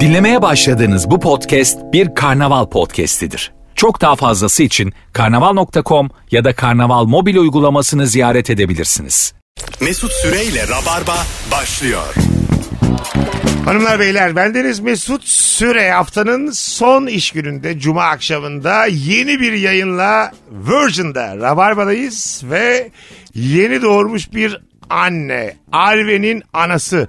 Dinlemeye başladığınız bu podcast bir karnaval podcastidir. Çok daha fazlası için karnaval.com ya da karnaval mobil uygulamasını ziyaret edebilirsiniz. Mesut Süreyle Rabarba başlıyor. Hanımlar beyler bendeniz Mesut Süre haftanın son iş gününde cuma akşamında yeni bir yayınla Virgin'da Rabarba'dayız ve yeni doğurmuş bir anne Arve'nin anası.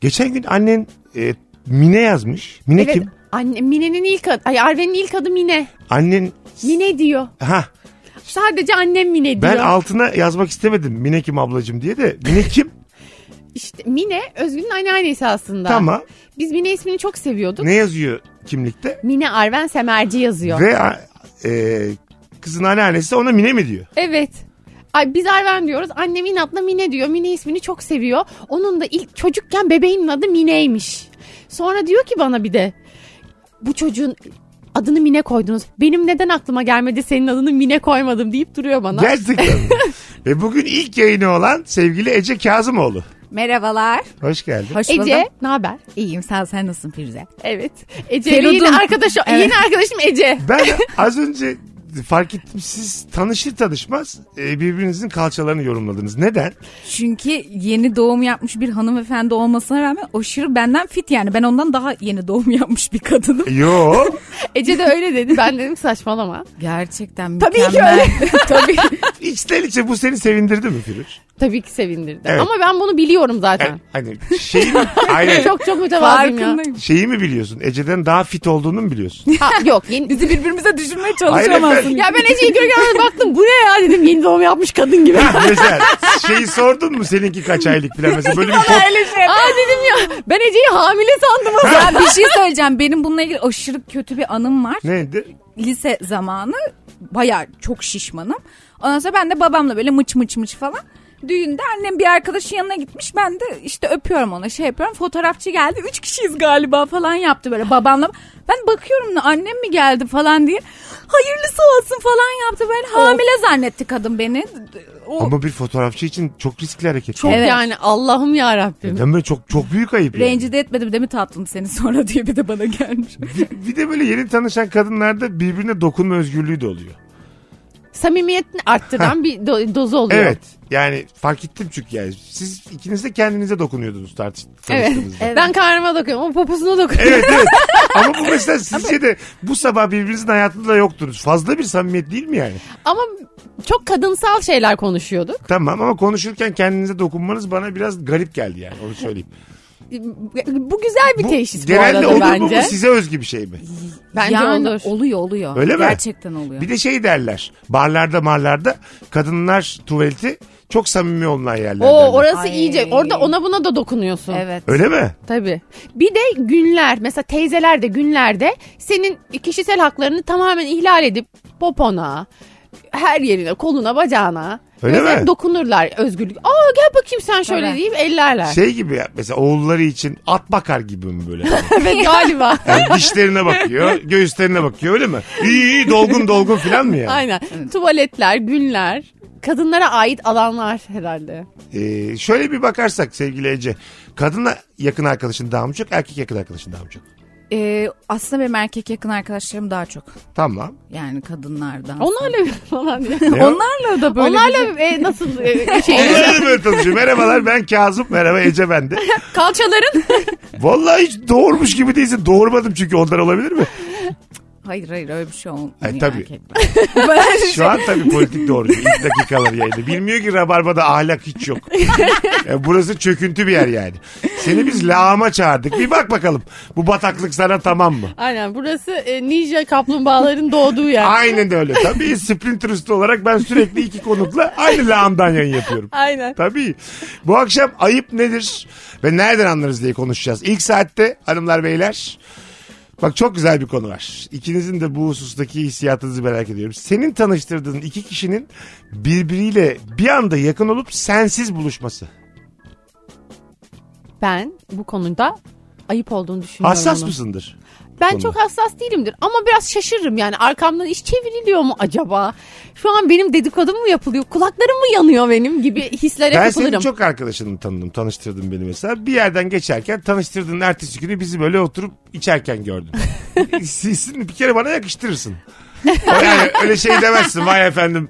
Geçen gün annen e, Mine yazmış. Mine Evet, kim? Anne, Mine'nin ilk adı, ay Arven'in ilk adı Mine. Annen Mine diyor. ha Sadece annem Mine diyor. ben altına yazmak istemedim Mine kim ablacığım diye de Mine kim? İşte Mine Özgün'ün anneannesi aslında. Tamam. Biz Mine ismini çok seviyorduk. ne yazıyor kimlikte? Mine Arven Semerci yazıyor. Ve a- e, kızın anneannesi de ona Mine mi diyor? Evet. Ay biz Arven diyoruz. Annem inatla Mine diyor. Mine ismini çok seviyor. Onun da ilk çocukken bebeğinin adı Mine'ymiş. Sonra diyor ki bana bir de bu çocuğun adını Mine koydunuz. Benim neden aklıma gelmedi senin adını Mine koymadım deyip duruyor bana. Gerçekten. mi? Ve bugün ilk yayını olan sevgili Ece Kazımoğlu. Merhabalar. Hoş geldin. Hoş Ece buldum. ne haber? İyiyim sağ ol. Sen nasılsın Firuze? Evet. Ece Feridun. yeni arkadaşım Evet. yeni arkadaşım Ece. Ben az önce fark ettim siz tanışır tanışmaz e, birbirinizin kalçalarını yorumladınız. Neden? Çünkü yeni doğum yapmış bir hanımefendi olmasına rağmen aşırı benden fit yani. Ben ondan daha yeni doğum yapmış bir kadınım. Yo. Ece de öyle dedi. Ben dedim ki saçmalama. Gerçekten Tabii ki mükemmel. Tabii. İçten içe bu seni sevindirdi mi Firuş? Tabii ki sevindirdi. Evet. Ama ben bunu biliyorum E, zaten. hani şeyi mi, aynen, Çok çok mütevazıyım ya. Farkındayım. şeyi mi biliyorsun? Ece'den daha fit olduğunu mu biliyorsun? Ha, yok yeni... Bizi birbirimize düşürmeye Hayır çalışamazsın. efendim. Ya ben Ece'yi görürken baktım bu ne ya dedim yeni doğum yapmış kadın gibi. Ha, Mesela şeyi sordun mu seninki kaç aylık falan mesela böyle bir pot- Öyle şey. Aa dedim ya ben Ece'yi hamile sandım. ya bir şey söyleyeceğim. Benim bununla ilgili aşırı kötü bir anım var. Neydi? lise zamanı baya çok şişmanım. Ondan sonra ben de babamla böyle mıç mıç mıç falan. Düğünde annem bir arkadaşın yanına gitmiş. Ben de işte öpüyorum ona şey yapıyorum. Fotoğrafçı geldi. Üç kişiyiz galiba falan yaptı böyle babamla. Ben bakıyorum da annem mi geldi falan diye. Hayırlısı olsun falan yaptı. Ben hamile zannetti kadın beni. O, Ama bir fotoğrafçı için çok riskli hareket. Çok Evet. yani Allah'ım ya Rabbim. Neden böyle çok çok büyük ayıp. yani. rencide etmedim değil mi tatlım seni sonra diye bir de bana gelmiş. Bir de böyle yeni tanışan kadınlarda birbirine dokunma özgürlüğü de oluyor. Samimiyetini arttıran bir do- dozu oluyor. Evet. Yani fark ettim çünkü yani. Siz ikiniz de kendinize dokunuyordunuz tartış Evet. tanıştığınızda. Evet. evet. Ben karnıma dokuyorum. O poposuna dokuyorum. Evet Ama bu mesela sizce de bu sabah birbirinizin hayatında da yoktunuz. Fazla bir samimiyet değil mi yani? Ama çok kadınsal şeyler konuşuyorduk. Tamam ama konuşurken kendinize dokunmanız bana biraz garip geldi yani onu söyleyeyim. Bu güzel bir teşhis bu, genelde arada olur bence. mu bu size özgü bir şey mi? Bence yani olur. oluyor oluyor. Öyle mi? Gerçekten oluyor. Bir de şey derler barlarda marlarda kadınlar tuvaleti çok samimi olunan yerler derler. Oo orası Ay. iyice. Orada ona buna da dokunuyorsun. Evet. Öyle mi? Tabii. Bir de günler mesela teyzeler de günlerde senin kişisel haklarını tamamen ihlal edip popona, her yerine, koluna, bacağına Öyle mesela mi? dokunurlar özgürlük. Aa gel bakayım sen şöyle Tabii. deyip ellerler. Şey gibi ya mesela oğulları için at bakar gibi mi böyle? Evet galiba. Yani dişlerine bakıyor, göğüslerine bakıyor öyle mi? İyi iyi dolgun dolgun falan mı yani? Aynen. Tuvaletler, günler, kadınlara ait alanlar herhalde. Ee, şöyle bir bakarsak sevgili Ece. Kadına yakın arkadaşın daha mı çok, erkek yakın arkadaşın daha mı çok? Ee, aslında benim erkek yakın arkadaşlarım daha çok. Tamam. Yani kadınlardan. Onlarla falan diye. Onlarla da böyle. Onlarla e, nasıl e, şey Onları da Ee, böyle tanışıyor. Merhabalar ben Kazım, merhaba Ece ben de. kalçaların Vallahi hiç doğurmuş gibi değilse doğurmadım çünkü onlar olabilir mi? Hayır hayır öyle bir şey olmuyor. Ay, E, tabii. erkekler. Ben- Şu an tabii politik doğrucu. İlk dakikaları yayında. Bilmiyor ki Rabarba'da ahlak hiç yok. Yani burası çöküntü bir yer yani. Seni biz lağıma çağırdık. Bir bak bakalım. Bu bataklık sana tamam mı? Aynen burası e, ninja kaplumbağaların doğduğu yer. Aynen öyle. Tabii Splinter Usta olarak ben sürekli iki konukla aynı lağımdan yayın yapıyorum. Aynen. Tabii. Bu akşam ayıp nedir ve nereden anlarız diye konuşacağız. İlk saatte hanımlar beyler. Bak çok güzel bir konu var. İkinizin de bu husustaki hissiyatınızı merak ediyorum. Senin tanıştırdığın iki kişinin birbiriyle bir anda yakın olup sensiz buluşması. Ben bu konuda ayıp olduğunu düşünüyorum. Hassas onun. mısındır? Ben konuda. çok hassas değilimdir ama biraz şaşırırım yani arkamdan iş çeviriliyor mu acaba? Şu an benim dedikodum mu yapılıyor? Kulaklarım mı yanıyor benim gibi hislere Ben senin kapılırım. çok arkadaşını tanıdım. Tanıştırdın beni mesela. Bir yerden geçerken tanıştırdığın ertesi günü bizi böyle oturup içerken gördüm. Sizin bir kere bana yakıştırırsın. Yani öyle şey demezsin vay efendim.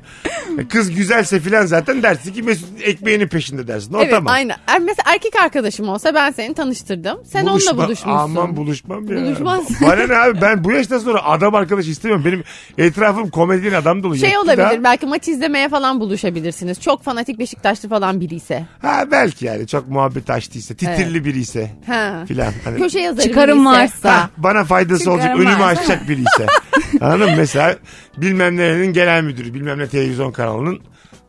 Kız güzelse filan zaten dersin ki Mesut ekmeğinin peşinde dersin. O Evet tamam. aynen. Er- Mesela erkek arkadaşım olsa ben seni tanıştırdım. Sen Buluşma- onunla buluşmuşsun. Aman buluşmam ya. Buluşmaz. Bana ne abi ben bu yaştan sonra adam arkadaş istemiyorum. Benim etrafım komedyen adam dolu. şey Yetti olabilir daha. belki maç izlemeye falan buluşabilirsiniz. Çok fanatik Beşiktaşlı falan biri ise. Ha belki yani çok muhabbet açtıysa, titirli biri ise Ha. filan. Hani Köşe yazarı Çıkarım biri ise. varsa. Ha, bana faydası Çünkü olacak, aramaz. önümü açacak biri ise. Anladın mı? Mesela bilmem nerenin genel müdürü, bilmem ne televizyon kanalının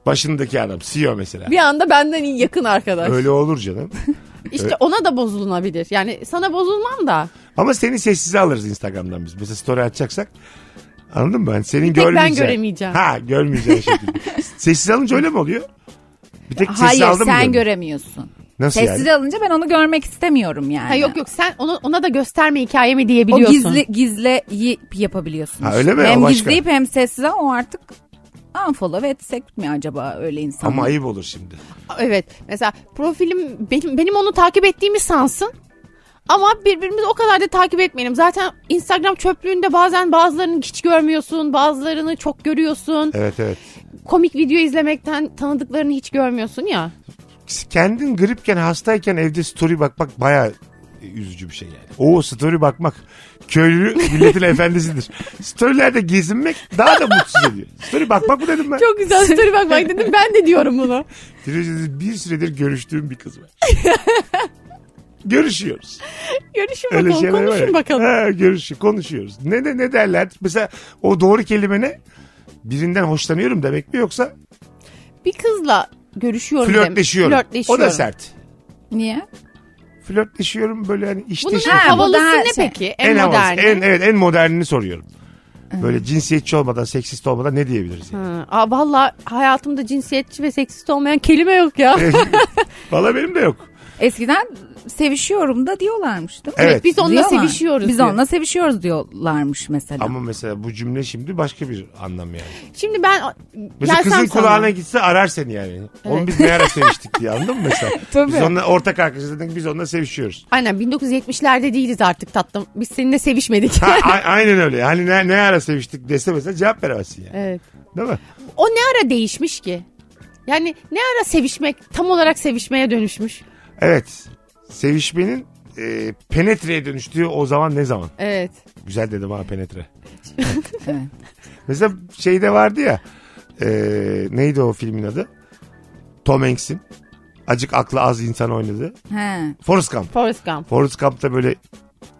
başındaki adam, CEO mesela. Bir anda benden iyi yakın arkadaş. Öyle olur canım. İşte ona da bozulunabilir. Yani sana bozulmam da. Ama seni sessize alırız Instagram'dan biz. Mesela story atacaksak. Anladın mı? Hani senin Bir tek ben görmeyeceğin. göremeyeceğim. Ha görmeyeceğin şekilde. sessiz alınca öyle mi oluyor? Bir tek sessiz Hayır aldın mı? sen diyorum? göremiyorsun. Nasıl Sessiz yani? alınca ben onu görmek istemiyorum yani. Ha yok yok sen ona, ona da gösterme hikayemi O diyebiliyorsun. gizli gizli yi- yapabiliyorsun. Ha, işte. öyle mi? O Hem başka. gizleyip hem sessiz ama o artık unfollow etsek mi acaba öyle insan? Ama ayıp olur şimdi. Evet. Mesela profilim benim, benim onu takip ettiğimi sansın. Ama birbirimizi o kadar da takip etmeyelim. Zaten Instagram çöplüğünde bazen bazılarını hiç görmüyorsun, bazılarını çok görüyorsun. Evet evet. Komik video izlemekten tanıdıklarını hiç görmüyorsun ya. kendin gripken hastayken evde story bakmak baya üzücü bir şey yani. O story bakmak köylü milletin efendisidir. Storylerde gezinmek daha da mutsuz ediyor. Story bakmak mı dedim ben? Çok güzel story bak bak dedim ben de diyorum bunu. Televizyonda Bir süredir görüştüğüm bir kız var. Görüşüyoruz. Görüşün Öyle bakalım, şeyler var. konuşun ya. bakalım. Ha, görüşü, konuşuyoruz. Ne de ne derler? Mesela o doğru kelime ne? Birinden hoşlanıyorum demek mi yoksa Bir kızla görüşüyorum. demek. flörtleşiyorum. Flörtleşiyorum. O da sert. Niye? Flörtleşiyorum böyle hani işte Bunun şey- en Ha, bu havalısı daha ne şey. peki? En, havalısı, moderni. En, evet en modernini soruyorum. Böyle cinsiyetçi olmadan, seksist olmadan ne diyebiliriz? Yani? Ha, Aa, valla hayatımda cinsiyetçi ve seksist olmayan kelime yok ya. Evet, Valla benim de yok. Eskiden sevişiyorum da diyorlarmış değil mi? Evet. biz onunla Diyorlar. sevişiyoruz. Biz diyor. onunla sevişiyoruz diyorlarmış mesela. Ama mesela bu cümle şimdi başka bir anlam yani. Şimdi ben Mesela gelsem kızın sana. kulağına gitse arar seni yani. Oğlum biz ne ara seviştik diye anladın mı mesela? Tabii. Biz onunla ortak arkadaşız dedik biz onunla sevişiyoruz. Aynen 1970'lerde değiliz artık tatlım. Biz seninle sevişmedik. Ha, a- aynen öyle. Hani ne, ne ara seviştik dese mesela cevap veremezsin yani. evet. Değil mi? O ne ara değişmiş ki? Yani ne ara sevişmek tam olarak sevişmeye dönüşmüş. Evet. Sevişmenin e, penetreye dönüştüğü o zaman ne zaman? Evet. Güzel dedim ha penetre. Evet. Mesela şeyde vardı ya. e, neydi o filmin adı? Tom Hanks'in. Acık aklı az insan oynadı. He. Forrest Gump. Forrest Gump. Forrest Gump'ta böyle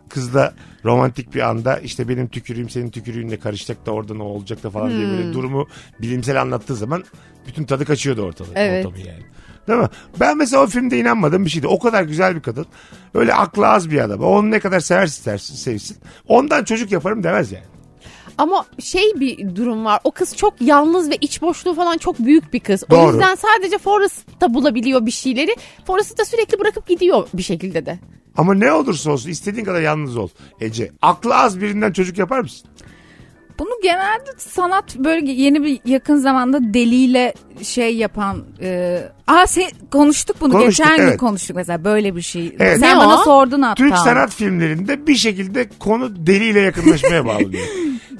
kızla romantik bir anda işte benim tükürüğüm senin tükürüğünle karışacak da orada ne olacak da falan diye böyle durumu bilimsel anlattığı zaman bütün tadı kaçıyordu ortalığı. Evet. Ortamı yani. Değil mi? Ben mesela o filmde inanmadığım bir şeydi. O kadar güzel bir kadın. Öyle aklı az bir adam. Onu ne kadar seversin istersin sevsin. Ondan çocuk yaparım demez yani. Ama şey bir durum var. O kız çok yalnız ve iç boşluğu falan çok büyük bir kız. O Doğru. yüzden sadece Forrest'ta bulabiliyor bir şeyleri. Forrest'ı da sürekli bırakıp gidiyor bir şekilde de. Ama ne olursa olsun istediğin kadar yalnız ol Ece. Aklı az birinden çocuk yapar mısın? Bunu genelde sanat böyle yeni bir yakın zamanda deliyle şey yapan e, aa se- konuştuk bunu Konuştuk, geçen gün evet. konuştuk mesela böyle bir şey. Evet. Sen Ne bana o? sordun hatta. Türk sanat filmlerinde bir şekilde konu deliyle yakınlaşmaya bağlıyor.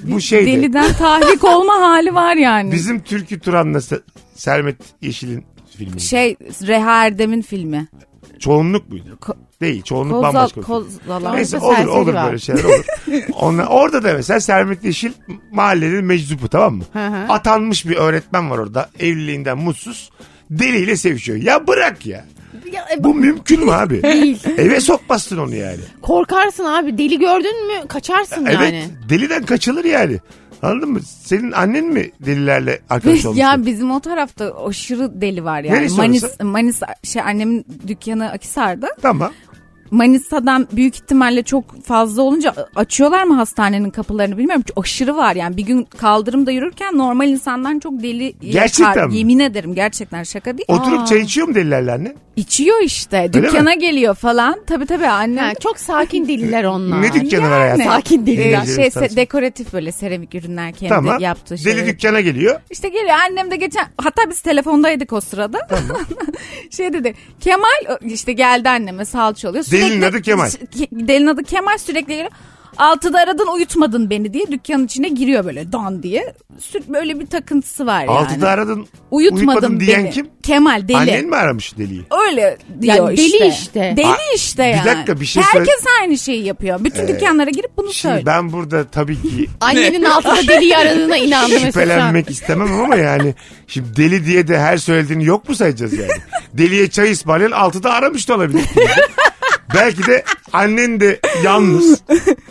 Bu şey de- Deliden tahrik olma hali var yani. Bizim Türkü Turan'la Se- Sermet Yeşil'in filmi. şey Reha Erdem'in filmi. Çoğunluk muydu? Ko- Değil çoğunluk Kozal, bambaşka. bir film. Kozalan. Neyse Orada olur serseri olur var. böyle şeyler olur. Onlar, orada da mesela Sermet Yeşil mahallenin meczubu tamam mı? Hı hı. Atanmış bir öğretmen var orada evliliğinden mutsuz. Deliyle sevişiyor. Ya bırak ya. Ya, e, Bu mümkün mü abi? Değil. Eve sokmazsın onu yani. Korkarsın abi. Deli gördün mü kaçarsın yani. Evet deliden kaçılır yani. Anladın mı? Senin annen mi delilerle arkadaş olmuş? ya bizim o tarafta aşırı deli var yani. Neresi Manis, orası? Manis şey annemin dükkanı Akisar'da. Tamam. Manisa'dan büyük ihtimalle çok fazla olunca e, açıyorlar mı hastanenin kapılarını bilmiyorum. Çok aşırı var yani. Bir gün kaldırımda yürürken normal insandan çok deli Gerçekten yakar. mi? Yemin ederim gerçekten şaka değil. Oturup Aa. çay içiyor mu delilerle anne? İçiyor işte. mi? Dükkana geliyor falan. Tabii tabii annem. Ha, çok sakin deliler onlar. Ne dükkanı var hayatım? Sakin deliler. Ee, şey, Deliler. se- dekoratif böyle seramik ürünler kendi Tamam. yaptığı Deli şeyleri. dükkana geliyor. İşte geliyor annem de geçen hatta biz telefondaydık o sırada. şey dedi Kemal işte geldi anneme salça oluyor. Delinin adı Kemal. Ke- Delinin adı Kemal sürekli geliyor. Altıda aradın uyutmadın beni diye dükkanın içine giriyor böyle dan diye. Sür- Böyle bir takıntısı var E, yani. Altıda aradın. uyutmadın, uyutmadın diyen beni. kim? Kemal deli. Annen mi aramış deliyi? Öyle diyor Yani deli işte. işte. Deli Aa, işte bir yani. dakika, bir şey söyle- Ee, Herkes aynı şeyi yapıyor. Bütün dükkanlara girip bunu Şimdi söylüyor. ben burada tabii ki Annenin altında deliyi aradığına inandım mesela. şüphelenmek istemem ama yani şimdi deli diye de her söylediğini yok mu sayacağız yani? Deliye çay ısmarlayan altıda aramış da olabilir. Belki de annen de yalnız.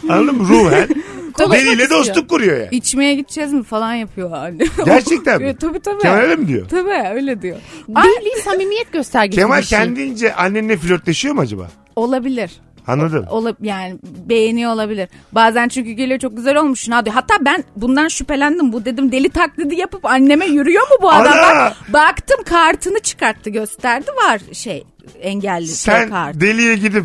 Anladın mı? Ruhen. Konuşmak Deliyle istiyor. dostluk kuruyor yani. İçmeye gideceğiz mi falan yapıyor anne. Gerçekten mi? Evet, tabii tabii. Kemal öyle mi diyor? Tabii öyle diyor. Deli samimiyet göstergesi Kemal bir şey. kendince annenle flörtleşiyor mu acaba? Olabilir. Anladım. Ola, yani beğeniyor olabilir. Bazen çünkü geliyor çok güzel olmuşsun ha diyor. Hatta ben bundan şüphelendim. Bu dedim deli taklidi yapıp anneme yürüyor mu bu adam? Ana! Bak, baktım kartını çıkarttı gösterdi var şey engelli şey Sen kartı. deliye gidip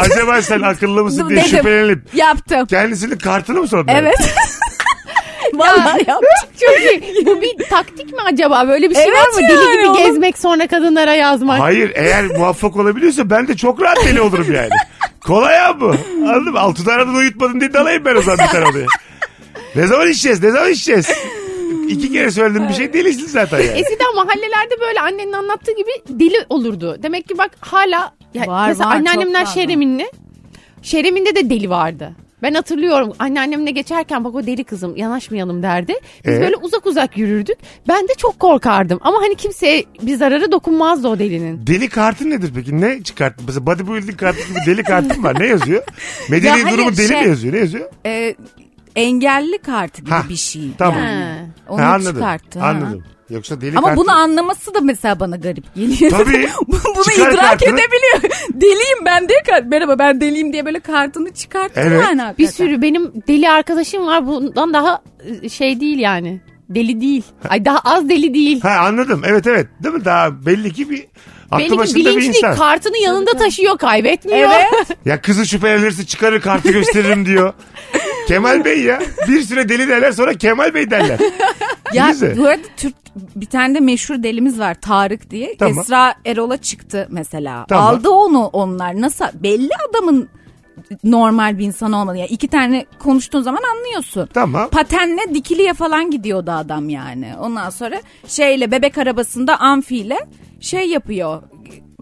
acaba sen akıllı mısın diye Dedim, şüphelenip Yaptım. kendisinin kartını mı sordun? Evet. Vallahi yaptım. Çok iyi. Bu bir taktik mi acaba? Böyle bir şey Evet var mı? Deli yani gibi oğlum. gezmek sonra kadınlara yazmak. Hayır eğer muvaffak olabiliyorsa ben de çok rahat deli olurum yani. Kolay ya bu. Anladın mı? Altıda aradan uyutmadın diye dalayım ben o zaman bir tane odaya. Ne zaman içeceğiz? Ne zaman içeceğiz? İki kere söyledim bir şey delisin zaten yani. Eskiden mahallelerde böyle annenin anlattığı gibi deli olurdu. Demek ki bak hala ya Var, mesela var, anneannemler çok fazla. Şereminli. Şeremin'de de deli vardı. Ben hatırlıyorum anneannemle geçerken bak o deli kızım yanaşmayalım derdi. Biz Ee? böyle uzak uzak yürürdük. Ben de çok korkardım ama hani kimseye bir zararı dokunmazdı o delinin. Deli kartı nedir peki? Ne çıkarttın? Mesela bodybuilding kartı gibi deli kartım var. Ne yazıyor? Medeni Ya hayır, durumu deli mi şey- yazıyor? Ne yazıyor? Ee, engelli kartı gibi Ha, bir şey. tamam. Ha. Onu Ha, anladım. çıkarttı. ha. Anladım. Yoksa deli Ama kartı. bunu anlaması da mesela bana garip geliyor. Tabii. Bu- bunu Çıkar idrak kartını. edebiliyor. deliyim ben diye kart. Merhaba ben deliyim diye böyle kartını çıkarttı Evet. yani Bir hakikaten. sürü benim deli arkadaşım var bundan daha e, şey değil yani. Deli değil. Ay daha az deli değil. Ha anladım. Evet evet. Değil mi? Daha belli ki bir aklı Belli ki başında bir bilinçli insan. kartını yanında taşıyor kaybetmiyor. Evet. Ya kızı şüphelenirse çıkarır kartı gösteririm diyor. Kemal Bey ya. Bir süre deli derler sonra Kemal Bey derler. ya Neyse. bu arada Türk bir tane de meşhur delimiz var Tarık diye. Tamam. Esra Erol'a çıktı mesela. Tamam. Aldı onu onlar. Nasıl belli adamın normal bir insan olmadı. Yani iki tane konuştuğun zaman anlıyorsun. Tamam. Patenle dikiliye falan gidiyordu adam yani. Ondan sonra şeyle bebek arabasında amfiyle şey yapıyor.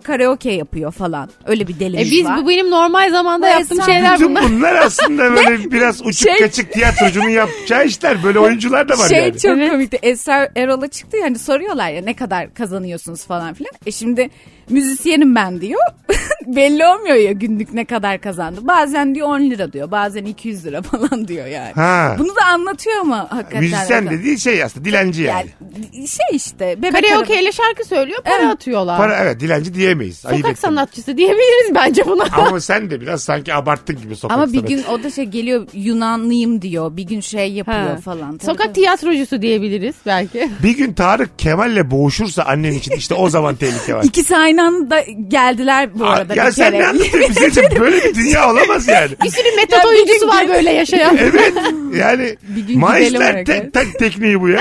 Karaoke yapıyor falan. Öyle bir E delimiz biz var. bu benim normal zamanda Bu yaptığım efsane. şeyler Bütün bunlar. bunlar aslında böyle biraz uçuk Şey- kaçık tiyatrocunun yapacağı işler. Böyle oyuncular da var şey yani. çok Evet. komikti. Esra Erol'a çıktı yani soruyorlar ya ne kadar kazanıyorsunuz falan filan. E şimdi müzisyenim ben diyor. Belli olmuyor ya günlük ne kadar kazandı. Bazen diyor 10 lira diyor. Bazen 200 lira falan diyor yani. Ha. Bunu da anlatıyor ama hakikaten. Müzisyen dediği şey aslında dilenci yani. yani şey işte bebek arabası. Karaoke ile şarkı söylüyor para Evet. atıyorlar. Para evet dilenci diyemeyiz. Ayıp Sokak ettim. sanatçısı diyebiliriz bence buna. Ama sen de biraz sanki abarttın gibi sokak Ama bir sanatı. gün o da şey geliyor Yunanlıyım diyor. Bir gün şey yapıyor Ha. falan. Tabii Sokak tabii. tiyatrocusu diyebiliriz belki. Bir gün Tarık Kemal'le boğuşursa annen için işte o zaman tehlike var. İkisi aynı anda geldiler bu arada. ya bir sen kere. ne anlatıyorsun? Bizim için böyle bir dünya olamaz yani. Bir sürü metot Ya bir oyuncusu gün var gel- böyle yaşayan. Evet. Yani Bir gün gidelim Maisler oraya tek kadar. tek tekniği bu ya.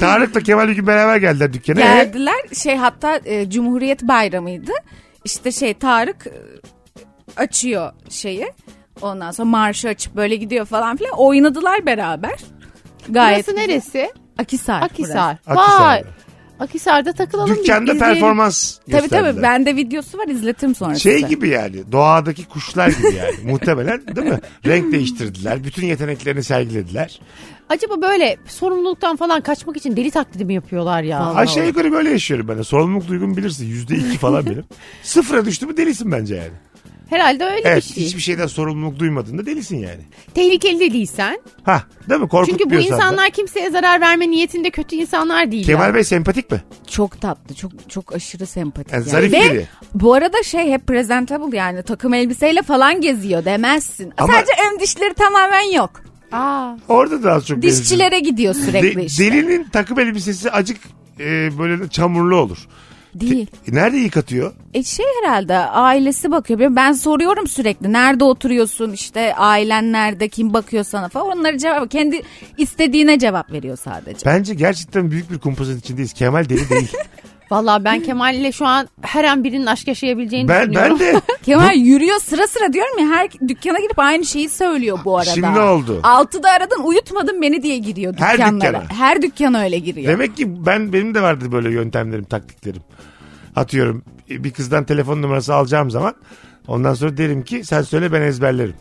Tarık'la Kemal bir gün beraber geldiler dükkana. Ee, Geldiler şey hatta e, Cumhuriyet Bayramı'ydı. İşte şey Tarık e, açıyor şeyi. Ondan sonra marşı açıp böyle gidiyor falan filan. Oynadılar beraber. Gayet. Burası neresi? Akisar. Akisar. Akhisar. Vay. Akisar'da takılalım. bir Dükkanda izleyelim. performans Tabii gösterdiler. tabii bende videosu var izletirim sonra Şey size. gibi yani doğadaki kuşlar gibi yani muhtemelen değil mi? Renk değiştirdiler. Bütün yeteneklerini sergilediler. Acaba böyle sorumluluktan falan kaçmak için deli taklidi mi yapıyorlar ya? Vallahi. Aşağı yukarı böyle yaşıyorum ben de. Sorumluluk duygum bilirsin. Yüzde iki falan benim. Sıfıra düştü mü delisin bence yani. Herhalde öyle Evet bir şey. hiçbir şeyden sorumluluk duymadığında delisin yani. Tehlikeli de değilsen. Ha değil mi? Korkut Çünkü bu diyorsan da. insanlar kimseye zarar verme niyetinde kötü insanlar değil. Kemal ya. Bey sempatik mi? Çok tatlı, çok çok aşırı sempatik. Yani yani. zarif Ve biri. bu arada şey hep presentable yani takım elbiseyle falan geziyor demezsin. Ama- Sadece ön dişleri tamamen yok. Aa, Orada da az çok benziyor. Dişçilere gidiyor sürekli De- işte. Delinin takım elbisesi acık e, böyle de çamurlu olur. Değil. E, nerede yıkatıyor? E şey herhalde ailesi bakıyor. Ben- Ben soruyorum sürekli nerede oturuyorsun işte ailen nerede kim bakıyor sana falan. Onlara cevap kendi istediğine cevap veriyor sadece. Bence gerçekten büyük bir kumpasın içindeyiz. Kemal deli değil. vallahi ben Kemal'le şu an her an birinin aşk yaşayabileceğini ben, düşünüyorum. ben de Kemal yürüyor sıra sıra diyorum ya her dükkana girip aynı şeyi söylüyor bu arada. Şimdi ne oldu? Altıda aradın uyutmadın beni diye giriyor Her dükkanlara. Her dükkana. dükkana. öyle giriyor. demek ki ben benim de vardı böyle yöntemlerim, taktiklerim. Atıyorum e, bir kızdan telefon numarası alacağım zaman ondan sonra derim ki sen söyle ben ezberlerim.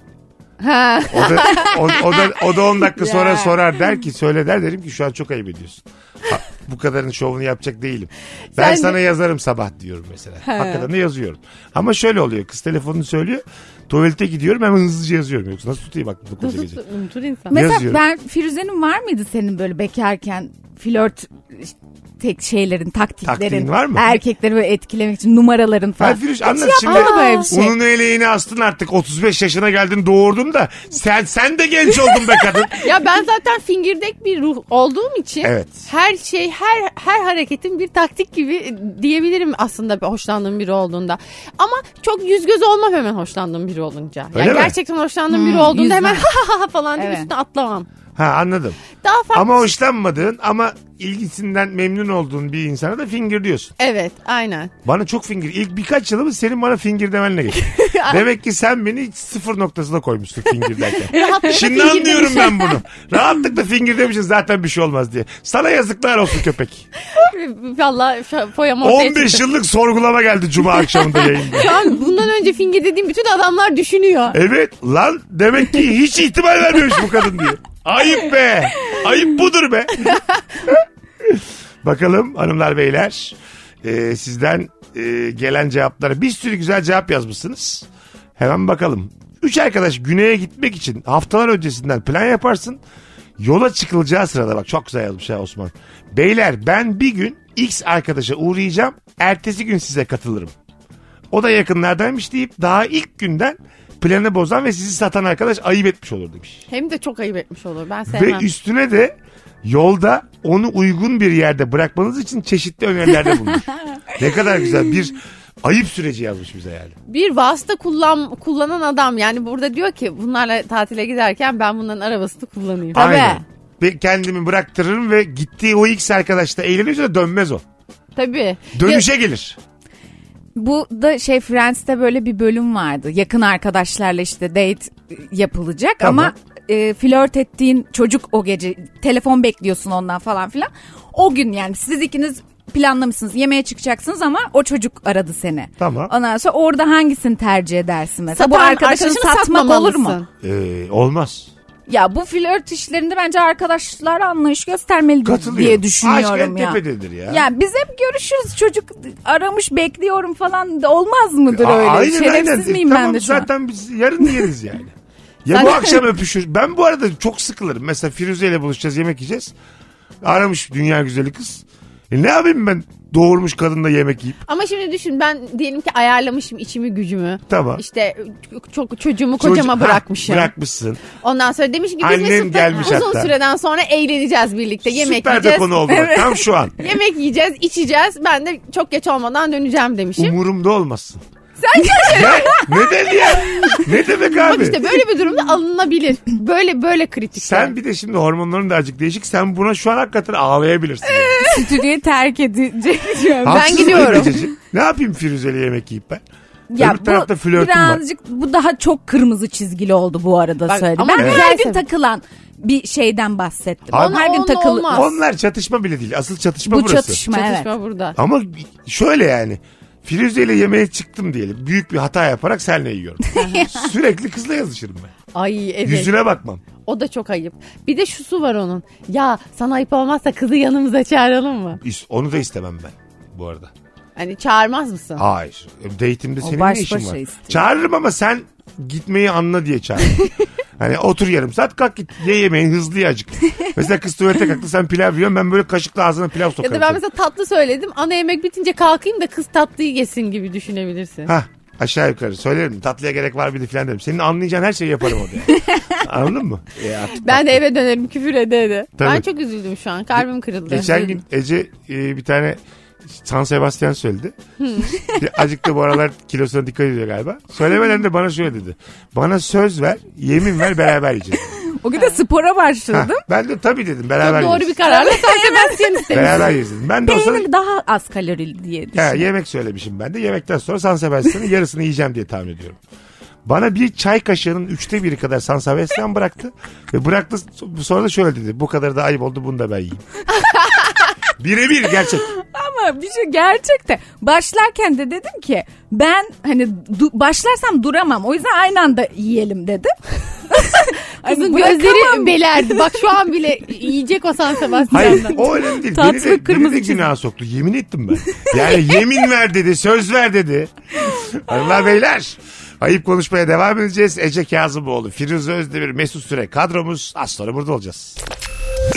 Ha. O da, o, o da, o da 10 dakika sonra Ya. sorar der ki söyle der derim ki şu an çok ayıp ediyorsun. Ha, bu kadarın şovunu yapacak değilim. Ben Sen de- sana yazarım sabah diyorum mesela. Hakikaten de yazıyorum. Ama şöyle oluyor kız telefonunu söylüyor. Tuvalete gidiyorum hemen hızlıca yazıyorum. Yoksa nasıl tutayım bak bu koca gece. Unutur, unutur insan. Mesela yazıyorum. ben Firuze'nin var mıydı senin böyle bekarken flört işte, tek şeylerin taktiklerin Taktiğin var mı? erkekleri böyle etkilemek için numaraların falan. Hayır Firuş anlat şimdi. yapmadı böyle bir şey. Unun eleğini astın artık 35 yaşına geldin doğurdun da sen sen de genç oldun be kadın. Ya ben zaten fingirdek bir ruh olduğum için Evet. her şey her her hareketin bir taktik gibi diyebilirim aslında bir hoşlandığım biri olduğunda. Ama çok yüz göz olmam hemen hoşlandığım biri olunca. Öyle yani mi? gerçekten hoşlandığım biri Hmm, olduğunda yüzme. hemen ha ha ha falan diye Evet. üstüne atlamam. Ha anladım. Daha farklı. Ama hoşlanmadığın ama ilgisinden memnun olduğun bir insana da finger diyorsun. Evet, aynen. Bana çok finger. İlk birkaç yılımız senin bana finger demenle geçti. Demek ki sen beni hiç sıfır noktasına koymuşsun finger derken. Rahatlıkla Şimdi fingir anlıyorum demiş. ben bunu. Rahatlıkla finger demişsin zaten bir şey olmaz diye. Sana yazıklar olsun köpek. Vallahi şu- foyam ortaya 15 çıktı. yıllık sorgulama geldi cuma akşamında yayında. Şu an bundan önce fingir dediğim bütün adamlar düşünüyor. Evet lan demek ki hiç ihtimal vermemiş bu kadın diye. Ayıp be. Ayıp budur be. Bakalım hanımlar beyler e, sizden e, gelen cevaplara bir sürü güzel cevap yazmışsınız. Hemen bakalım. Üç arkadaş güneye gitmek için haftalar öncesinden plan yaparsın. Yola çıkılacağı sırada bak çok güzel yazmış ha Osman. Beyler ben bir gün X arkadaşa uğrayacağım. Ertesi gün size katılırım. O da yakınlardaymış deyip daha ilk günden planı bozan ve sizi satan arkadaş ayıp etmiş olur demiş. Hem de çok ayıp etmiş olur. Ben Ve sevmem. üstüne de yolda onu uygun bir yerde bırakmanız için çeşitli önerilerde bulunmuş. ne kadar güzel bir ayıp süreci yazmış bize yani. bir vasıta kullan, kullanan adam yani burada diyor ki bunlarla tatile giderken ben bunların arabasını kullanayım. Tabii. Aynen. Ve kendimi bıraktırırım ve gittiği o X arkadaşla eğleniyorsa da dönmez o. Tabii. Dönüşe gelir. Bu da şey Friends'te böyle bir bölüm vardı. Yakın arkadaşlarla işte date yapılacak Tamam. ama e, flört ettiğin çocuk o gece telefon bekliyorsun ondan falan filan. O gün yani siz ikiniz planlamışsınız yemeğe çıkacaksınız ama o çocuk aradı seni. Tamam. Ondan sonra orada hangisini tercih edersin mesela? Satan bu arkadaşını arkadaşını satmak olur mu? satmamalısın. Ee, olmaz. Ya bu flört işlerinde bence arkadaşlar anlayış göstermeli Katılıyorum. diye düşünüyorum Aşk en ya. tepededir ya. Ya biz hep görüşürüz çocuk aramış bekliyorum falan da olmaz mıdır Aa, öyle? aynen, Şerefsiz aynen. E, miyim tamam, ben de şu an? zaten biz yarın yeriz yani. Ya bu akşam öpüşür. Ben bu arada çok sıkılırım. Mesela Firuze ile buluşacağız yemek yiyeceğiz. Aramış dünya güzeli kız. E ne yapayım ben doğurmuş kadınla yemek yiyip. Ama şimdi düşün ben diyelim ki ayarlamışım içimi gücümü. Tamam. İşte çok- çok çocuğumu kocama Çocuk- bırakmışım. Ha, bırakmışsın. Ondan sonra demiş ki biz Annem Mesut'la gelmiş uzun hatta. süreden sonra eğleneceğiz birlikte. Yemek Süper de yiyeceğiz. konu oldu. bak, Evet. Tam şu an. Yemek yiyeceğiz, içeceğiz. Ben de çok geç olmadan döneceğim demişim. Umurumda olmasın. Sen ne? Neden ya? Ne demek abi? Bak işte böyle bir durumda alınabilir. Böyle böyle kritik. Sen bir de şimdi hormonların da azıcık değişik. Sen buna şu an hakikaten ağlayabilirsin. Stüdyoyu terk edecek diyorum. Ben gidiyorum. Ne yapayım Firuze'yle yemek yiyip ben? Ya Öbür tarafta flörtüm var. birazcık bu daha çok kırmızı çizgili oldu bu arada Bak, söyleyeyim. ama Ben güzel her gün sebep. takılan bir şeyden bahsettim. Abi- her gün Onunla takılı. olmaz. Onlar çatışma bile değil. Asıl çatışma Bu burası. çatışma, Çatışma evet. burada. Ama şöyle yani. Firuze ile yemeğe çıktım diyelim. Büyük bir hata yaparak seninle yiyorum. Sürekli kızla yazışırım ben. Ay evet. Yüzüne bakmam. O da çok ayıp. Bir de şusu var onun. Ya sana ayıp olmazsa kızı yanımıza çağıralım mı? İs- Onu da istemem ben bu arada. Hani çağırmaz mısın? Hayır. E, Date'imde senin baş ne işin başa var? istiyor. Çağırırım ama sen gitmeyi anla diye çağırırım. hani otur yarım saat kalk git ye yemeğin hızlı ye acık. Mesela kız tuvalete kalktı sen pilav yiyorsun ben böyle kaşıkla ağzına pilav ya sokarım. da ben seni. mesela tatlı söyledim. Ana yemek bitince kalkayım da kız tatlıyı yesin gibi düşünebilirsin. Hah aşağı yukarı söylerim tatlıya gerek var bir de filan derim. Senin anlayacağın her şeyi yaparım orada. yani. Anladın mı? E, artık Ben de eve dönerim küfür ede ede. Tabii. Ben çok üzüldüm şu an. Kalbim kırıldı. Geçen gün Ece e, bir tane San Sebastian söyledi. Azıcık da bu aralar kilosuna dikkat ediyor galiba. Söylemeden de bana şöyle dedi. Bana söz ver, yemin ver beraber yiyeceğiz. O gün de spora Ha, başladım. ben de tabii dedim beraber Çok doğru yeriz. bir kararla sen Sebastian istemiş. Beraber yeriz dedim. Ben de o sırada Peynir daha az kalorili diye Ya, düşünüyorum. yemek söylemişim ben de. Yemekten sonra San Sebastian'ın yarısını yiyeceğim diye tahmin ediyorum. Bana bir çay kaşığının üçte biri kadar San Sebastian bıraktı. Ve bıraktı sonra da şöyle dedi. Bu kadar da ayıp oldu bunu da ben yiyeyim. Birebir gerçek. Ama bir şey gerçekten. Başlarken de dedim ki ben hani du- başlarsam duramam. O yüzden aynı anda yiyelim dedim. Hani Kızın bırakamam. gözleri belerdi. Bak şu an bile yiyecek o San Hayır Sebastian'dan. o önemli değil. Tatlı beni de, beni kırmızı de çizgi. günaha soktu. Yemin ettim ben. Yani yemin ver dedi. Söz ver dedi. Allah beyler. Ayıp konuşmaya devam edeceğiz. Ece Kazımoğlu, Firuze Özdemir, Mesut Süre kadromuz. Az sonra burada olacağız.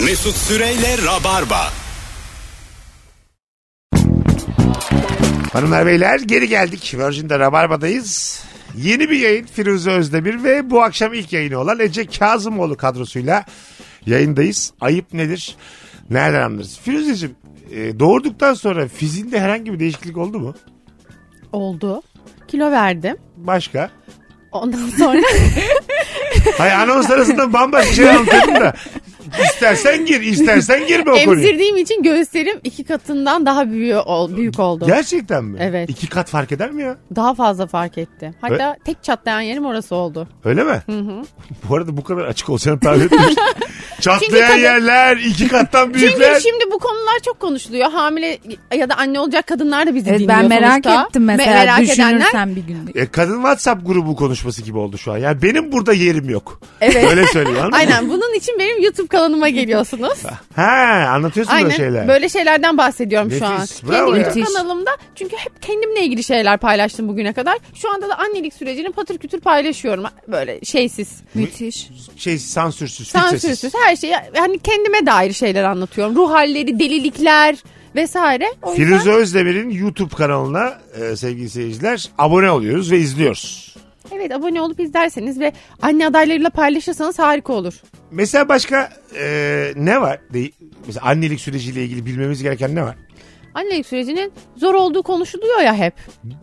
Mesut Süreyle Rabarba. Hanımlar beyler geri geldik. Virgin'de Rabarba'dayız. Yeni bir yayın Firuze Özdemir ve bu akşam ilk yayını olan Ece Kazımoğlu kadrosuyla yayındayız. Ayıp nedir? Nereden anlarız? Firuzeciğim e, doğurduktan sonra fiziğinde herhangi bir değişiklik oldu mu? Oldu. Kilo verdim. Başka? Ondan sonra Hayır anons arasında bambaşka şey anlatıyordum da. İstersen gir, istersen girme o konuya. emzirdiğim için göğüslerim iki katından daha büyük, ol, büyük oldu. Gerçekten mi? Evet. İki kat fark eder mi ya? Daha fazla fark etti. Hatta tek çatlayan yerim orası oldu. Öyle mi? Bu arada bu kadar açık olacağını tahmin etmemiştim. Çatlayan kadın- yerler, iki kattan Çünkü büyükler. şimdi bu konular çok konuşuluyor. Hamile ya da anne olacak kadınlar da bizi Evet, dinliyor ben merak sonuçta. ettim Me- mesela merak edenler. düşünürsem bir gün. diye. E, kadın WhatsApp grubu konuşması gibi oldu şu an. Yani benim burada yerim yok. Evet. Öyle söylüyor anladın mı? Aynen bunun için benim YouTube kanalıma geliyorsunuz. He anlatıyorsun Aynen böyle şeyler. böyle şeylerden bahsediyorum şu an. Nefis, bravo Kendi ya. YouTube Müthiş. kanalımda çünkü hep kendimle ilgili şeyler paylaştım bugüne kadar. Şu anda da annelik sürecini patır kütür paylaşıyorum. Böyle şeysiz, Müthiş. Şey sansürsüz, filtresiz. sansürsüz her şeyi. Yani kendime dair şeyler anlatıyorum. Ruh halleri, delilikler vesaire. O yüzden Firuze Özdemir'in YouTube kanalına e, sevgili seyirciler abone oluyoruz ve izliyoruz. evet abone olup izlerseniz ve anne adaylarıyla paylaşırsanız harika olur. Mesela başka e, ne var? De- mesela annelik süreciyle ilgili bilmemiz gereken ne var? Annelik sürecinin zor olduğu konuşuluyor ya hep.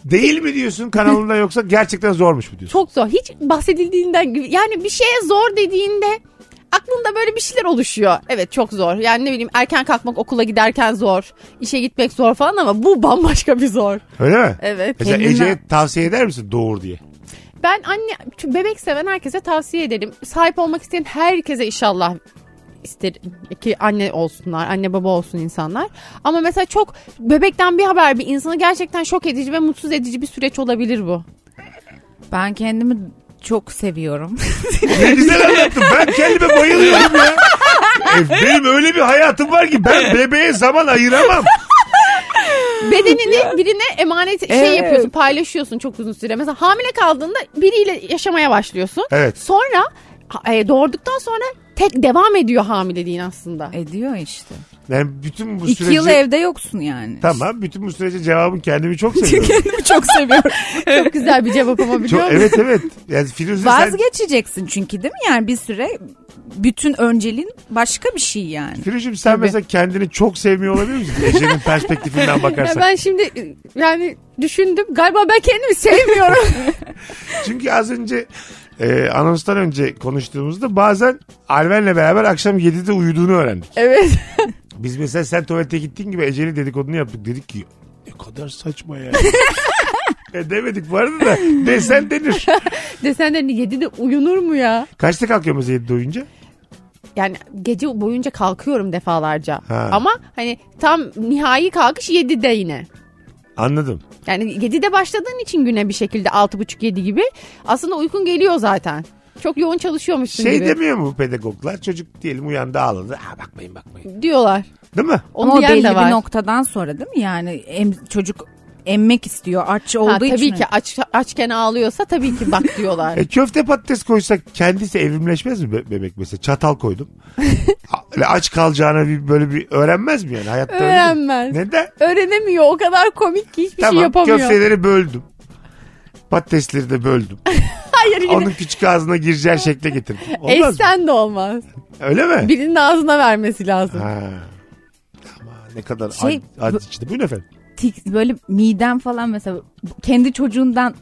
Değil mi diyorsun kanalında yoksa gerçekten zormuş mu diyorsun? Çok zor. Hiç bahsedildiğinden gibi- yani bir şeye zor dediğinde aklında böyle bir şeyler oluşuyor. Evet çok zor. Yani ne bileyim erken kalkmak okula giderken zor. işe gitmek zor falan ama bu bambaşka bir zor. Öyle mi? Evet. Mesela Kendine- Ece'ye tavsiye eder misin doğur diye? Ben anne şu bebek seven herkese tavsiye ederim. Sahip olmak isteyen herkese inşallah isterim ki anne olsunlar, anne baba olsun insanlar. Ama mesela çok bebekten bir haber bir insanı gerçekten şok edici ve mutsuz edici bir süreç olabilir bu. Ben kendimi çok seviyorum. Ne güzel anlattın. Ben kendime bayılıyorum ya. E, benim öyle bir hayatım var ki ben bebeğe zaman ayıramam. Bedenini birine emanet şey Evet. yapıyorsun, paylaşıyorsun çok uzun süre. Mesela hamile kaldığında biriyle yaşamaya başlıyorsun. Evet. Sonra ha- e, doğurduktan sonra tek devam ediyor hamileliğin aslında. Ediyor işte. Yani bütün bu İki süreci... yıl evde yoksun yani. Tamam. Bütün bu sürece cevabın kendimi çok seviyorum. Kendimi çok seviyorum. Çok güzel bir cevap ama biliyor çok, musun? evet evet. Yani Firuze sen... Vazgeçeceksin çünkü değil mi? Yani bir süre bütün önceliğin başka bir şey yani. Firuzcum sen mesela kendini çok sevmiyor olabilir misin? Ece'nin perspektifinden Ya bakarsan. ben şimdi e, yani düşündüm galiba ben kendimi sevmiyorum. Çünkü az önce e, anonstan önce konuştuğumuzda bazen Alven'le beraber akşam 7'de uyuduğunu öğrendik. evet. Biz mesela sen tuvalete gittiğin gibi Ece'li dedikodunu yaptık. Dedik ki ne kadar saçma ya. e demedik bu arada da desen denir. hani Desenlerini 7'de uyunur mu ya? Kaçta kalkıyor mesela 7'de uyunca? Yani gece boyunca kalkıyorum defalarca. Ha. Ama hani tam nihai kalkış 7'de yine. Anladım. Yani 7'de başladığın için güne bir şekilde 6.30-7 gibi aslında uykun geliyor zaten. Çok yoğun çalışıyormuşsun Şey gibi demiyor mu bu pedagoglar? Çocuk diyelim uyandı ağladı. Aa, bakmayın bakmayın. diyorlar. Değil mi? Onu Ama o diyen belli de var. bir noktadan sonra değil mi? Yani em- çocuk emmek istiyor aç olduğu Ha, tabii için. ki aç, açken ağlıyorsa tabii ki bak diyorlar. E, köfte patates koysak kendisi evrimleşmez mi be- bebek mesela? Çatal koydum. A- öyle aç kalacağına bir, böyle bir öğrenmez mi yani? Hayatta öyle değil. Öğrenmez. Neden? Öğrenemiyor o kadar komik ki hiçbir şey Tamam yapamıyor. köfteleri böldüm. Patatesleri de böldüm. Hayır yine Onun küçük ağzına gireceği şekle getirdim. Olmaz mı? eşten de olmaz. Öyle mi? Birinin ağzına vermesi lazım. Ha. Ama ne kadar Şey, ad, ad içti. Buyurun efendim. Tik- böyle midem falan mesela kendi çocuğundan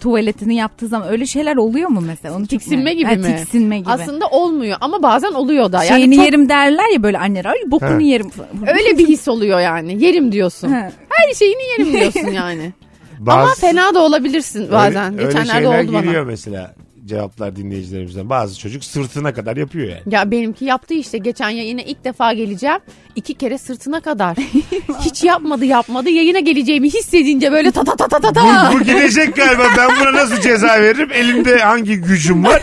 tuvaletini yaptığı zaman öyle şeyler oluyor mu mesela? Onu çok Tiksinme merak- gibi Ha, mi? Tiksinme gibi. Aslında olmuyor ama bazen oluyor da. Yani Şeyini çok- yerim derler ya böyle anneler. Ay bokunu Ha. yerim falan. öyle bir his oluyor yani. Yerim diyorsun. Ha. Her şeyini yerim diyorsun yani. Ama Bazı- fena da olabilirsin bazen. Öyle, öyle Geçenlerde şeyler oldu bana. geliyor mesela cevaplar dinleyicilerimizden. Bazı çocuk sırtına kadar yapıyor yani. Ya benimki yaptı işte geçen yayına ilk defa geleceğim. iki kere sırtına kadar. Hiç yapmadı yapmadı yayına geleceğimi hissedince böyle ta ta ta ta ta ta. Bu gidecek galiba. Ben buna nasıl ceza veririm? Elimde hangi gücüm var?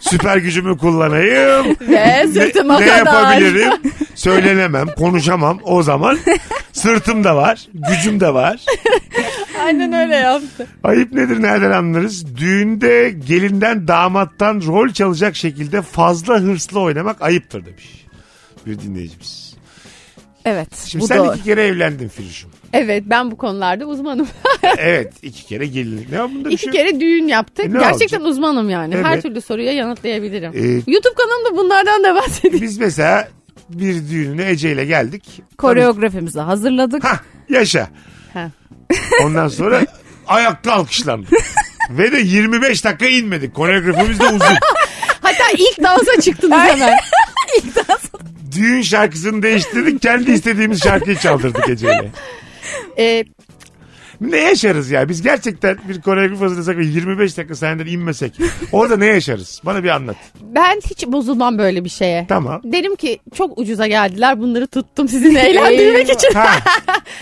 Süper gücümü kullanayım. Ve Ne, sırtıma ne kadar. yapabilirim? Söylenemem, konuşamam. O zaman sırtım da var, gücüm de var. Aynen öyle yaptı. Ayıp nedir nereden anlarız? Düğünde gelinden damattan rol çalacak şekilde fazla hırslı oynamak ayıptır demiş bir dinleyicimiz. Evet. Şimdi bu sen doğru. iki kere evlendin Firuş'um. Evet ben bu konularda uzmanım. evet iki kere gelinlik. Ne var bunda bir İki şey yok. kere düğün yaptık. E, ne Gerçekten olacak? uzmanım yani. Evet. Her türlü soruya yanıtlayabilirim. Ee, YouTube kanalımda bunlardan da bahsedeyim. Biz mesela bir düğününe Ece ile geldik. Koreografimizi hazırladık. Hah yaşa. Ha. Ondan sonra ayakta alkışlandı. Ve de 25 dakika inmedik. Koreografimiz de uzun. Hatta ilk dansa çıktınız hemen. Düğün şarkısını değiştirdik. Kendi istediğimiz şarkıyı çaldırdık Ece'yle. Ee, Ne yaşarız ya? Biz gerçekten bir koreograf hazırlasak ve 25 dakika sahneden inmesek. Orada ne yaşarız? Bana bir anlat. ben hiç bozulmam böyle bir şeye. Tamam. Derim ki çok ucuza geldiler bunları tuttum sizin eğlendirmek için. Ha.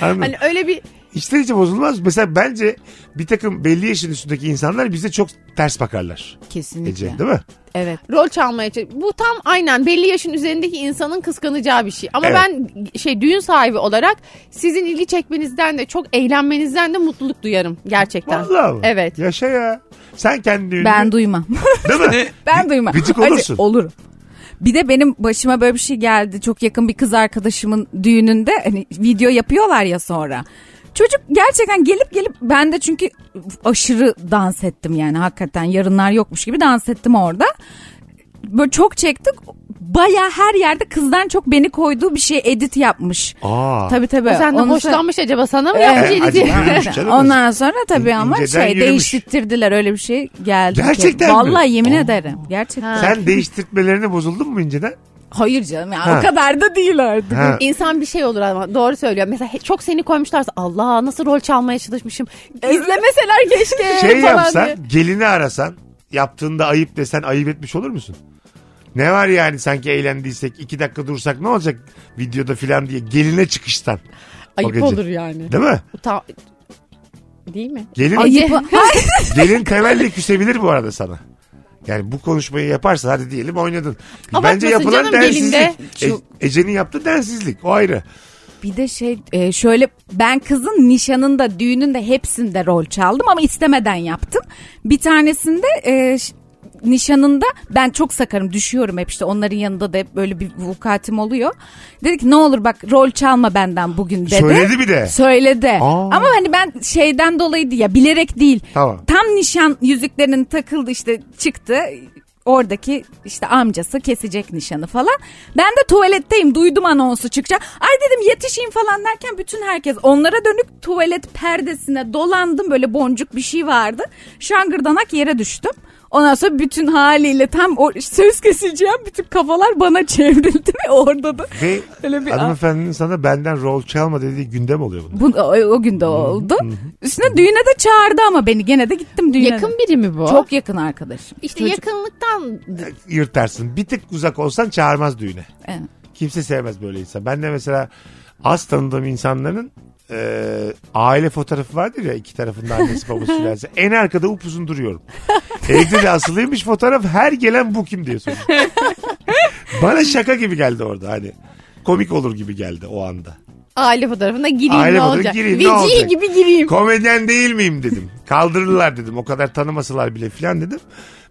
Anladım. Hani öyle bir İşte hiç bozulmaz. Mesela bence bir takım belli yaşın üstündeki insanlar bize çok ters bakarlar. Kesinlikle. Ece değil mi? Evet. rol çalmaya çalış- Bu tam aynen belli yaşın üzerindeki insanın kıskanacağı bir şey. Ama Evet. ben şey düğün sahibi olarak sizin ilgi çekmenizden de çok eğlenmenizden de mutluluk duyarım gerçekten. Vallahi mi? Evet. Yaşa ya. Sen kendi düğününü Ben duymam. değil mi? Ben duymam. Gıcık Acı- olursun. olurum. Bir de benim başıma böyle bir şey geldi. Çok yakın bir kız arkadaşımın düğününde hani video yapıyorlar ya sonra. Çocuk gerçekten gelip gelip ben de çünkü aşırı dans ettim yani hakikaten yarınlar yokmuş gibi dans ettim orada. Böyle çok çektik. Baya her yerde kızdan çok beni koyduğu bir şey edit yapmış. Aa. Tabii tabii. O senden Ondan sonra- hoşlanmış acaba sana mı Ee, E, yapacaktı? acaba yürümüş canım. Ondan sonra tabii ama İnceden şey yürümüş. değiştirdiler öyle bir şey geldi. ki. Gerçekten mi? Vallahi yemin Aa. ederim. Gerçekten. Sen değiştirtmelerine bozuldun mu inceden? Hayır canım ya Ha. o kadar da değil artık. Ha. İnsan bir şey olur ama doğru söylüyor. Mesela he- çok seni koymuşlarsa Allah nasıl rol çalmaya çalışmışım. İzlemeseler keşke Şey falan diye. yapsan, gelini arasan, yaptığında ayıp desen ayıp etmiş olur musun? Ne var yani sanki eğlendiysek, iki dakika dursak ne olacak videoda filan diye geline çıkıştan. O Ayıp gece. olur yani. Değil mi? Ta- Değil mi? Gelin, Ayıp. E, Ay, gelin temelli küsebilir bu arada sana. Yani bu konuşmayı yaparsa hadi diyelim oynadın. Bence Abartmasın yapılan canım, densizlik. gelinde. E- Ece'nin yaptığı densizlik o ayrı. bir de şey e, şöyle ben kızın nişanında düğününde hepsinde rol çaldım ama istemeden yaptım. Bir tanesinde e, ş- nişanında ben çok sakarım düşüyorum hep işte onların yanında da hep böyle bir vukuatim oluyor. Dedi ki ne olur bak rol çalma benden bugün dedi. Söyledi bir de. Söyledi. Aa. Ama hani ben şeyden dolayı ya bilerek değil. Tamam. Tam nişan yüzüklerinin takıldı işte çıktı. Oradaki işte amcası kesecek nişanı falan. Ben de tuvaletteyim duydum anonsu çıkacak. Ay dedim yetişeyim falan derken bütün herkes onlara dönük tuvalet perdesine dolandım. Böyle boncuk bir şey vardı. Şangırdanak yere düştüm. Ondan sonra bütün haliyle tam o söz keseceğim bütün kafalar bana çevrildi ve orada da Ve öyle bir hanımefendinin sana benden rol çalma dediği gündem oluyor bunun. bu, o, o gün de oldu. Üstüne düğüne de çağırdı ama beni gene de gittim düğüne. de. Yakın biri mi bu? çok yakın arkadaşım. İşte Çocuk- yakınlıktan Yırtarsın. Bir tık uzak olsan çağırmaz düğüne. Evet. Kimse sevmez böyle insan. Ben de mesela az tanıdığım insanların e, aile fotoğrafı vardır ya iki tarafında annesi babası filansa. En arkada upuzun duruyorum. Evde de asılıymış fotoğraf her gelen bu kim diye soruyor. Bana şaka gibi geldi orada hani. Komik olur gibi geldi o anda. aile fotoğrafına gireyim Aile ne fotoğrafı olacak? gireyim, ne Vecihi olacak? gibi gireyim. Komedyen değil miyim dedim. Kaldırırlar dedim. O kadar tanımasalar bile filan dedim.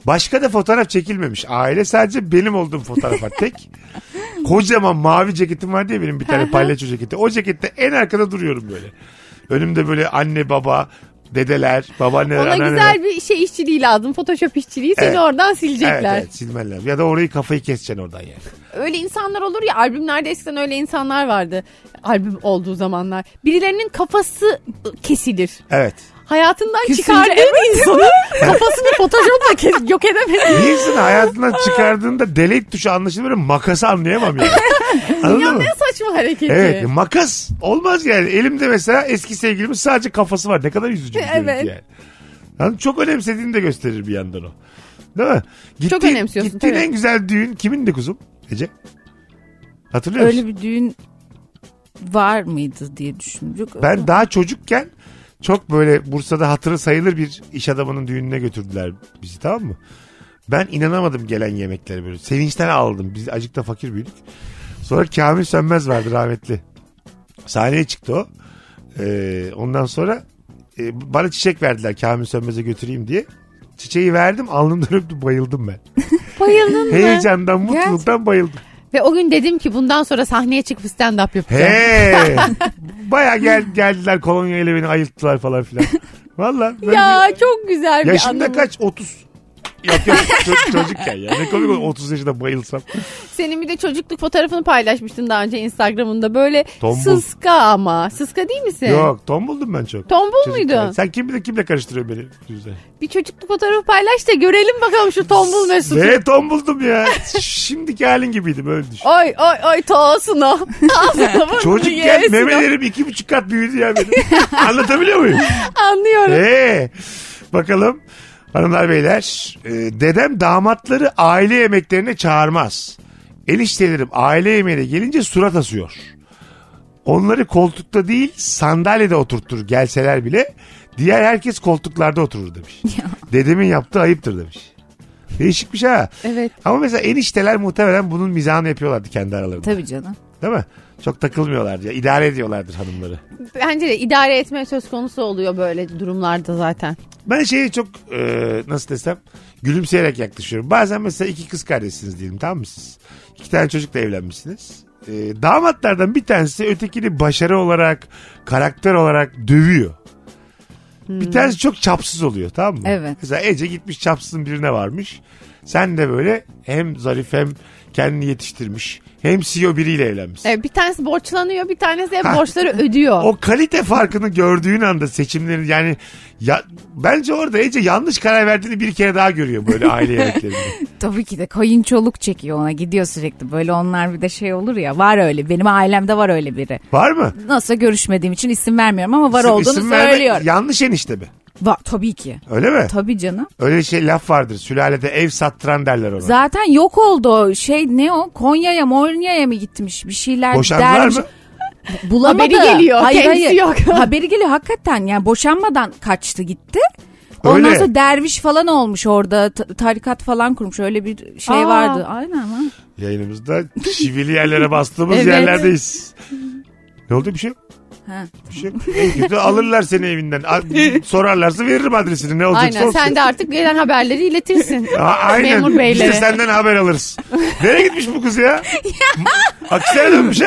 Başka da fotoğraf çekilmemiş. Aile sadece benim olduğum fotoğraf var. Tek kocaman mavi ceketim var diye benim bir tane palyaço ceketi. O cekette en arkada duruyorum böyle. Önümde böyle anne baba, dedeler, babaanneler, Ona anneanneler. güzel bir şey işçiliği lazım. Photoshop işçiliği seni Ee, Evet. oradan Evet, silecekler. evet silmen lazım. Ya da orayı kafayı keseceksin oradan yani. Öyle insanlar olur ya albümlerde eskiden öyle insanlar vardı. Albüm olduğu zamanlar. Birilerinin kafası kesilir. Evet. Hayatından Kesince çıkardığın insanın kafasını photoshopla kes- yok edemez. Bir insanı hayatından çıkardığında delete tuşu anlaşılır böyle makası anlayamam yani. Anladın mı? Ne saçma hareketi. Evet e, makas olmaz yani. Elimde mesela eski sevgilimin sadece kafası var. Ne kadar üzücü bir Evet. görüntü yani. Yani çok önemsediğini de gösterir bir yandan o. Değil mi? Gittiğin, Çok önemsiyorsun, Gittiğin tabii. en güzel düğün kimindi kuzum? Ece? Hatırlıyor musun? Öyle bir düğün var mıydı diye düşündüm. Yok, Ben daha çocukken çok böyle Bursa'da hatırı sayılır bir iş adamının düğününe götürdüler bizi tamam mı? Ben inanamadım gelen yemeklere böyle. Sevinçten ağladım. Biz acıkta fakir büyüdük. Sonra Kamil Sönmez vardı rahmetli. Sahneye çıktı o. Ee, ondan sonra e, bana çiçek verdiler Kamil Sönmez'e götüreyim diye. Çiçeği verdim alnımdan öptüm bayıldım ben. Bayıldın mı? Heyecandan mutluluktan bayıldım. Ve o gün dedim ki bundan sonra sahneye çıkıp stand up yapacağım. He. Baya gel, geldiler kolonya ile beni ayılttılar falan filan. Valla. böyle bir- Ya çok güzel bir Yaşında anım. kaç? 30. Yok yok çocuk, çocukken ya. Ne komik olur 30 yaşında bayılsam. Senin bir de çocukluk fotoğrafını paylaşmıştın daha önce Instagram'ında. Böyle Tombul. sıska ama. Sıska değil misin? Yok tombuldum ben çok. Tombul Çocukken. muydun? Sen kim bilir kimle karıştırıyorsun beni. Güzel. Bir çocukluk fotoğrafı paylaş da görelim bakalım şu tombul Mesut'u. Ve tombuldum ya. Şimdiki halin gibiydi böyle düşün. Oy oy oy toğasın o. Ağzına burnunu Çocukken yesin o. memelerim iki buçuk kat büyüdü ya benim. Anlatabiliyor muyum? Anlıyorum. Ee, bakalım hanımlar beyler. Ee, dedem damatları aile yemeklerine çağırmaz. Eniştelerim aile yemeğine gelince surat asıyor. Onları koltukta değil sandalyede oturtur gelseler bile. Diğer herkes koltuklarda oturur demiş. Dedemin yaptığı ayıptır demiş. Değişikmiş ha. Evet. Ama mesela enişteler muhtemelen bunun mizahını yapıyorlardı kendi aralarında. Tabii canım. Değil mi? Çok takılmıyorlardı ya. İdare ediyorlardır hanımları. Bence de idare etme söz konusu oluyor böyle durumlarda zaten. Ben şeye çok e, nasıl desem gülümseyerek yaklaşıyorum. Bazen mesela iki kız kardeşsiniz diyelim tamam mı siz? İki tane çocukla evlenmişsiniz. E, damatlardan bir tanesi ötekini başarı olarak, karakter olarak dövüyor. Bir tanesi çok çapsız oluyor tamam mı? Evet. Mesela Ece gitmiş çapsızın birine varmış. Sen de böyle hem zarif hem kendini yetiştirmiş. Hem CEO biriyle evlenmişsin. Evet, bir tanesi borçlanıyor bir tanesi hep Ha. borçları ödüyor. O kalite farkını gördüğün anda seçimlerin yani ya, bence orada Ece yanlış karar verdiğini bir kere daha görüyor böyle aile yemeklerinde. Tabii ki de kayınçoluk çekiyor ona gidiyor sürekli. Böyle onlar bir de şey olur ya var öyle benim ailemde var öyle biri. Var mı? Nasıl görüşmediğim için isim vermiyorum ama var İsim- olduğunu isim verme- söylüyorum. yanlış enişte mi? Var, tabii ki. Öyle mi? Tabii canım. Öyle şey laf vardır. Sülalede ev sattıran derler ona. Zaten yok oldu o şey ne o Konya'ya Monya'ya mı gitmiş bir şeyler Boşandılar dermiş. mı? Bulamadı. Haberi geliyor, kendisi yok. Haberi geliyor hakikaten yani boşanmadan kaçtı gitti. Ondan Öyle. sonra derviş falan olmuş orada t- tarikat falan kurmuş öyle bir şey Aa. vardı. Aynen ha. Yayınımızda şivili yerlere bastığımız Evet. yerlerdeyiz. Ne oldu bir şey? yok. Ha. Bir şey yok. En kötü alırlar seni evinden. A- Sorarlarsa veririm adresini. Ne olacak? Aynen sen de artık gelen haberleri iletirsin. Aa, şey. aynen. Memur Biz beylere. de senden haber alırız. Nereye gitmiş bu kız ya? Aksine dönmüş ha.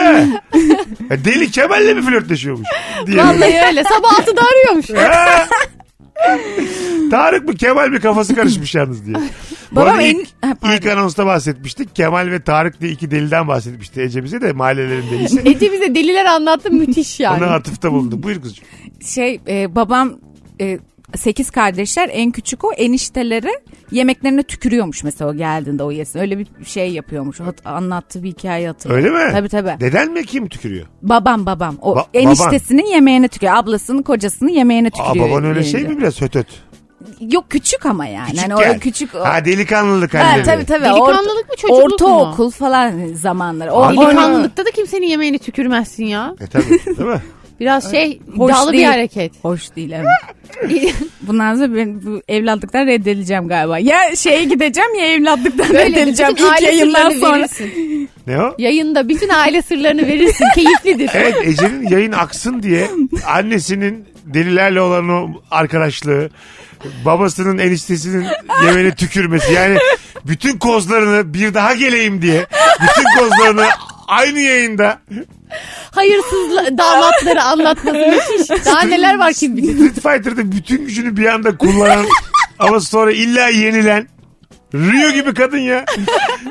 Ya Deli Kemal'le mi flörtleşiyormuş? Diye. Vallahi öyle sabah 6'da arıyormuş. Ha! Tarık mı Kemal mi kafası karışmış yalnız diye. Bu Babam arada en- ilk, Ha, pardon. ilk anonsta bahsetmiştik. Kemal ve Tarık diye iki deliden bahsetmişti. Ece bize de mahallelerin delisi. Ece bize deliler anlattı müthiş yani. Ona atıfta bulundu. Buyur kızcığım. şey e, babam e, sekiz kardeşler en küçük o enişteleri yemeklerine tükürüyormuş mesela o geldiğinde o yesin. Öyle bir şey yapıyormuş. Hat- anlattığı bir hikaye hatırlıyorum. Öyle mi? Tabii tabii. Deden mi kim tükürüyor? babam babam. O Ba- eniştesinin yemeğine tükürüyor. Ablasının kocasının yemeğine Aa, tükürüyor. baban öyle yenince. şey mi biraz hötöt? Yok küçük ama yani. Küçük hani yani. o küçük. o- Ha delikanlılık Ha, halleri. tabii tabii. Delikanlılık mı, çocukluk mu? Ortaokul falan zamanları. O, Ama- Delikanlılıkta da kimsenin yemeğini tükürmezsin ya. E tabii değil mi? Biraz şey Hoş iddialı bir değil. hareket. Hoş değil evet. Bundan sonra ben bu evlatlıktan reddedileceğim galiba. Ya şeye gideceğim ya evlatlıktan Böyle reddedileceğim bütün ilk aile yayından sırlarını sonra. verirsin. Ne o? Yayında bütün aile sırlarını verirsin. Keyiflidir. Evet Ece'nin yayın aksın diye annesinin delilerle olan o arkadaşlığı, babasının eniştesinin yemeğine tükürmesi. Yani bütün kozlarını bir daha geleyim diye bütün kozlarını aynı yayında Hayırsız la- damatları anlatması müthiş. Daha neler var kim bilir. Street Fighter'da bütün gücünü bir anda kullanan ama sonra illa yenilen Rio gibi kadın ya.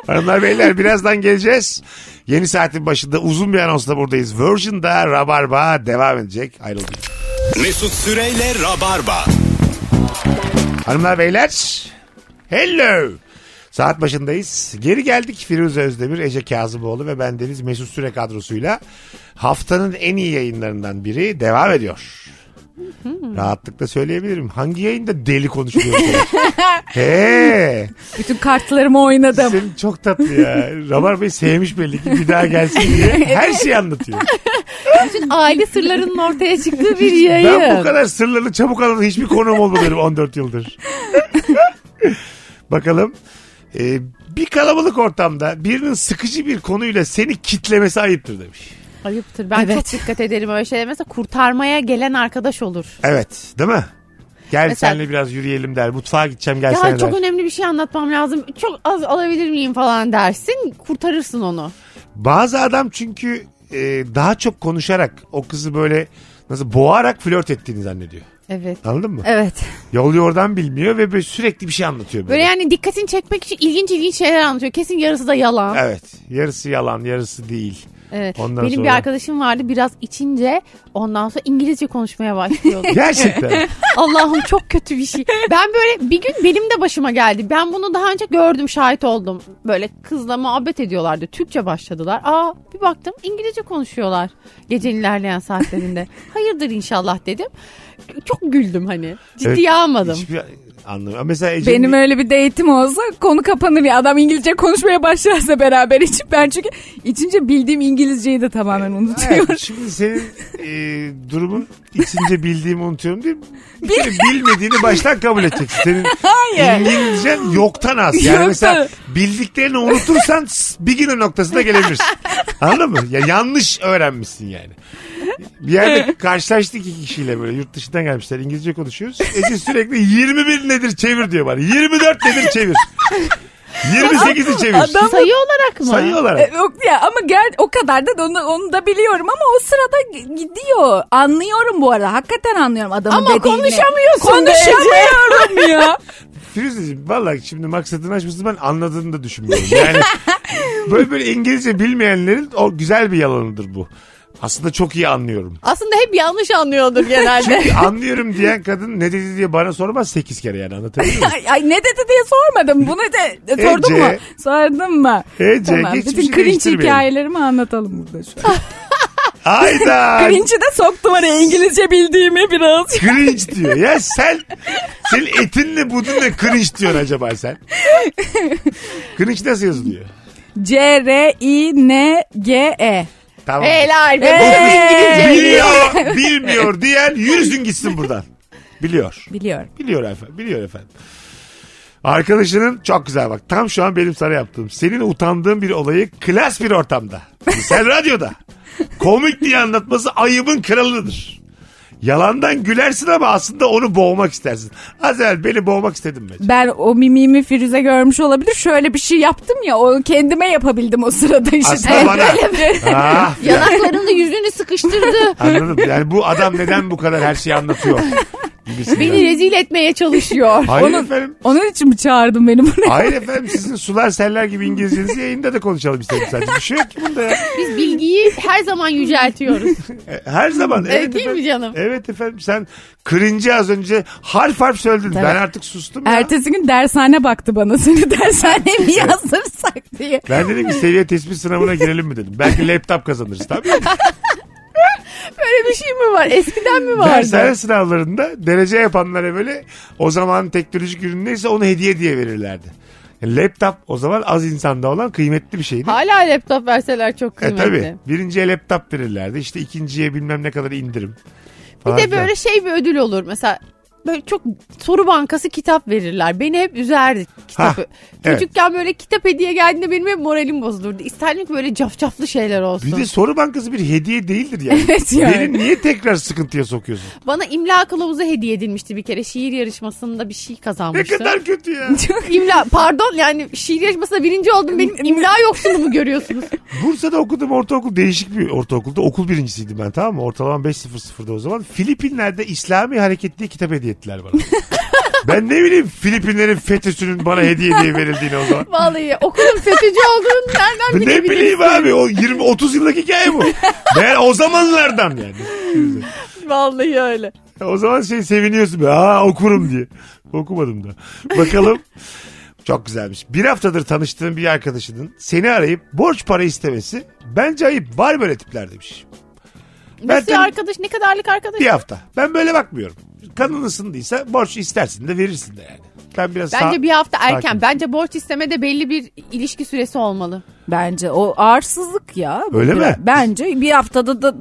Hanımlar beyler birazdan geleceğiz. Yeni saatin başında uzun bir anonsla buradayız. Virgin'da Rabarba devam edecek. Ayrıldık. Mesut Süreyle Rabarba. Hanımlar beyler. Hello. Saat başındayız. Geri geldik Firuze Özdemir, Ece Kazımoğlu ve ben Deniz Mesut Süre kadrosuyla haftanın en iyi yayınlarından biri devam ediyor. Rahatlıkla söyleyebilirim. Hangi yayında deli konuşuluyor? bu kadar? He. Bütün kartlarımı oynadım. Senin çok tatlı ya. Rabar Bey sevmiş belli ki bir daha gelsin diye her şeyi anlatıyor. Bütün aile sırlarının ortaya çıktığı bir Ben bu yayın. kadar sırlarını çabuk anlatan hiçbir konuğum olmadı benim 14 yıldır. Bakalım. Ee, bir kalabalık ortamda birinin sıkıcı bir konuyla seni kitlemesi ayıptır demiş. Ayıptır. Ben çok dikkat ederim öyle şeyler. Mesela kurtarmaya gelen arkadaş olur. Evet değil mi? Gel Mesela- senle biraz yürüyelim der. Mutfağa gideceğim gel Ya sen der. çok önemli bir şey anlatmam lazım. Çok az alabilir miyim falan dersin. Kurtarırsın onu. Bazı adam çünkü e, daha çok konuşarak o kızı böyle nasıl boğarak flört ettiğini zannediyor. Evet. Anladın mı? Evet. Yolu yordan bilmiyor ve böyle sürekli bir şey anlatıyor. Böyle. Böyle yani dikkatini çekmek için ilginç ilginç şeyler anlatıyor. Kesin yarısı da yalan. Evet. Yarısı yalan yarısı değil. Evet. Ondan Benim sonra- bir arkadaşım vardı biraz içince ondan sonra İngilizce konuşmaya başlıyordu. Gerçekten. Allah'ım çok kötü bir şey. Ben böyle bir gün benim de başıma geldi. Ben bunu daha önce gördüm, şahit oldum. Böyle kızla muhabbet ediyorlardı. Türkçe başladılar. Aa bir baktım İngilizce konuşuyorlar. Gecenin ilerleyen saatlerinde. Hayırdır inşallah dedim. Çok güldüm hani. Ciddiye almadım. Hiçbir anlamı. Mesela Ece'nin Benim öyle bir date'im olsa konu kapanır ya. Adam İngilizce konuşmaya başlarsa beraber içip ben çünkü içince bildiğim İngilizceyi de tamamen unutuyorum. Evet, şimdi senin e, durumun içince bildiğimi unutuyorum değil mi? Bir kere bilmediğini baştan kabul edeceksin. Senin İngilizcen yoktan az. Yani Yoktan. mesela bildiklerini unutursan beginner noktasına gelebilirsin. Anladın mı? Ya yanlış öğrenmişsin yani. Bir yerde karşılaştık iki kişiyle böyle yurt dışından gelmişler İngilizce konuşuyoruz. Ece sürekli 21 nedir çevir diyor bana. 24 nedir çevir. 28'i çevir. Adam- şey Sayı olarak mı? Sayı olarak. E, Yok ya ama gel o kadar da onu, onu da biliyorum ama o sırada g- gidiyor. Anlıyorum bu arada. Hakikaten anlıyorum adamın Ama dediğini. konuşamıyorsun be Ece. Konuşamıyorum ya. Firuzeciğim valla şimdi maksadını açmışsın ben anladığını da düşünmüyorum. Yani böyle böyle İngilizce bilmeyenlerin o güzel bir yalanıdır bu. Aslında çok iyi anlıyorum. Aslında hep yanlış anlıyordur genelde. Anlıyorum diyen kadın ne dedi diye bana sormaz 8 kere yani anlatabiliyor muyum? Ay, ay, ne dedi diye sormadım. Bunu de, e, sordun Ece. mu? Sordun mu? Ece, hiçbir Bütün şey cringe değiştirmeyelim. hikayelerimi anlatalım burada şu an. Hayda! Cringe'i de soktum araya İngilizce bildiğimi biraz. cringe diyor. Ya sen senin etinle budunla cringe diyorsun acaba sen? cringe nasıl yazılıyor? C-R-I-N-G-E. Tamam. Beyler be. Hey! Biliyor, bilmiyor diyen yürüsün gitsin buradan. Biliyor. Biliyorum. Biliyor efendim. Biliyor efendim. Arkadaşının çok güzel bak. Tam şu an benim sana yaptığım. Senin utandığın bir olayı klas bir ortamda. Sen radyoda. Komik diye anlatması ayıbın kralıdır. Yalandan gülersin ama aslında onu boğmak istersin. Az evvel beni boğmak istedim ben. Ben o mimimi Firuze görmüş olabilir. Şöyle bir şey yaptım ya o kendime yapabildim o sırada işte. şey Aslında bana. Ah, Yanaklarını yüzünü sıkıştırdı. anladım. Yani bu adam neden bu kadar her şeyi anlatıyor? Gibisinden. Beni rezil etmeye çalışıyor. Hayır Onu- efendim. Onun için mi çağırdın beni buraya? Hayır efendim sizin sular seller gibi İngilizcenizi yayında da konuşalım istedim sadece. Bir şey yok ki bunda ya. Biz bilgiyi her zaman yüceltiyoruz. E, Her zaman. Evet, değil mi efendim. canım? Evet efendim sen cringe'i az önce harf harf söyledin. Ben artık sustum ya. Ertesi gün dershane baktı bana seni dershaneye mi yazdırsak diye. Ben dedim ki seviye tespit sınavına girelim mi dedim. Belki laptop kazanırız tabii. Böyle bir şey mi var? Eskiden mi vardı? Dershane sınavlarında derece yapanlara böyle o zaman teknolojik ürün neyse onu hediye diye verirlerdi. Yani laptop o zaman az insanda olan kıymetli bir şeydi. Hala laptop verseler çok E kıymetli. tabii. Birinciye laptop verirlerdi. İşte ikinciye bilmem ne kadar indirim. Bir falan de filan. böyle şey bir ödül olur. Mesela böyle çok soru bankası kitap verirler. Beni hep üzerdi kitabı. Hah, evet. Çocukken böyle kitap hediye geldiğinde benim hep moralim bozulurdu. İsterdim ki böyle cafcaflı şeyler olsun. Bir de soru bankası bir hediye değildir yani. Evet yani. Beni niye tekrar sıkıntıya sokuyorsun? Bana imla kılavuzu hediye edilmişti bir kere. Şiir yarışmasında bir şey Ne kazanmıştı. kadar kötü ya. İmla pardon yani şiir yarışmasında birinci oldum benim imla yoksunu mu görüyorsunuz? Bursa'da okudum ortaokul değişik bir ortaokulda okul birincisiydim ben tamam mı? Ortalamam 5.00'da o zaman. Filipinler'de İslami Hareket diye kitap hediye ettiler bana. ben ne bileyim Filipinlerin FETÖ'sünün bana hediye diye verildiğini o zaman. Vallahi okulun FETÖ'cü olduğunu ne nereden bilebilirim? bileyim abi o 20 30 yıllık hikaye bu. Ben o zamanlardan yani. Vallahi öyle. O zaman şey seviniyorsun be. Aa okurum diye. Okumadım da. Bakalım. Çok güzelmiş. Bir haftadır tanıştığım bir arkadaşının seni arayıp borç para istemesi bence ayıp. Var böyle tipler demiş. Nasıl tabii- arkadaş ne kadarlık arkadaş? Bir hafta. Ben böyle bakmıyorum. Kanın ısındıysa borç istersin de verirsin de yani. Ben biraz Bence sağ- bir hafta erken. sakin. Bence borç istemede belli bir ilişki süresi olmalı. Bence o ağırsızlık ya. Bu Öyle biraz- mi? Bence bir haftada da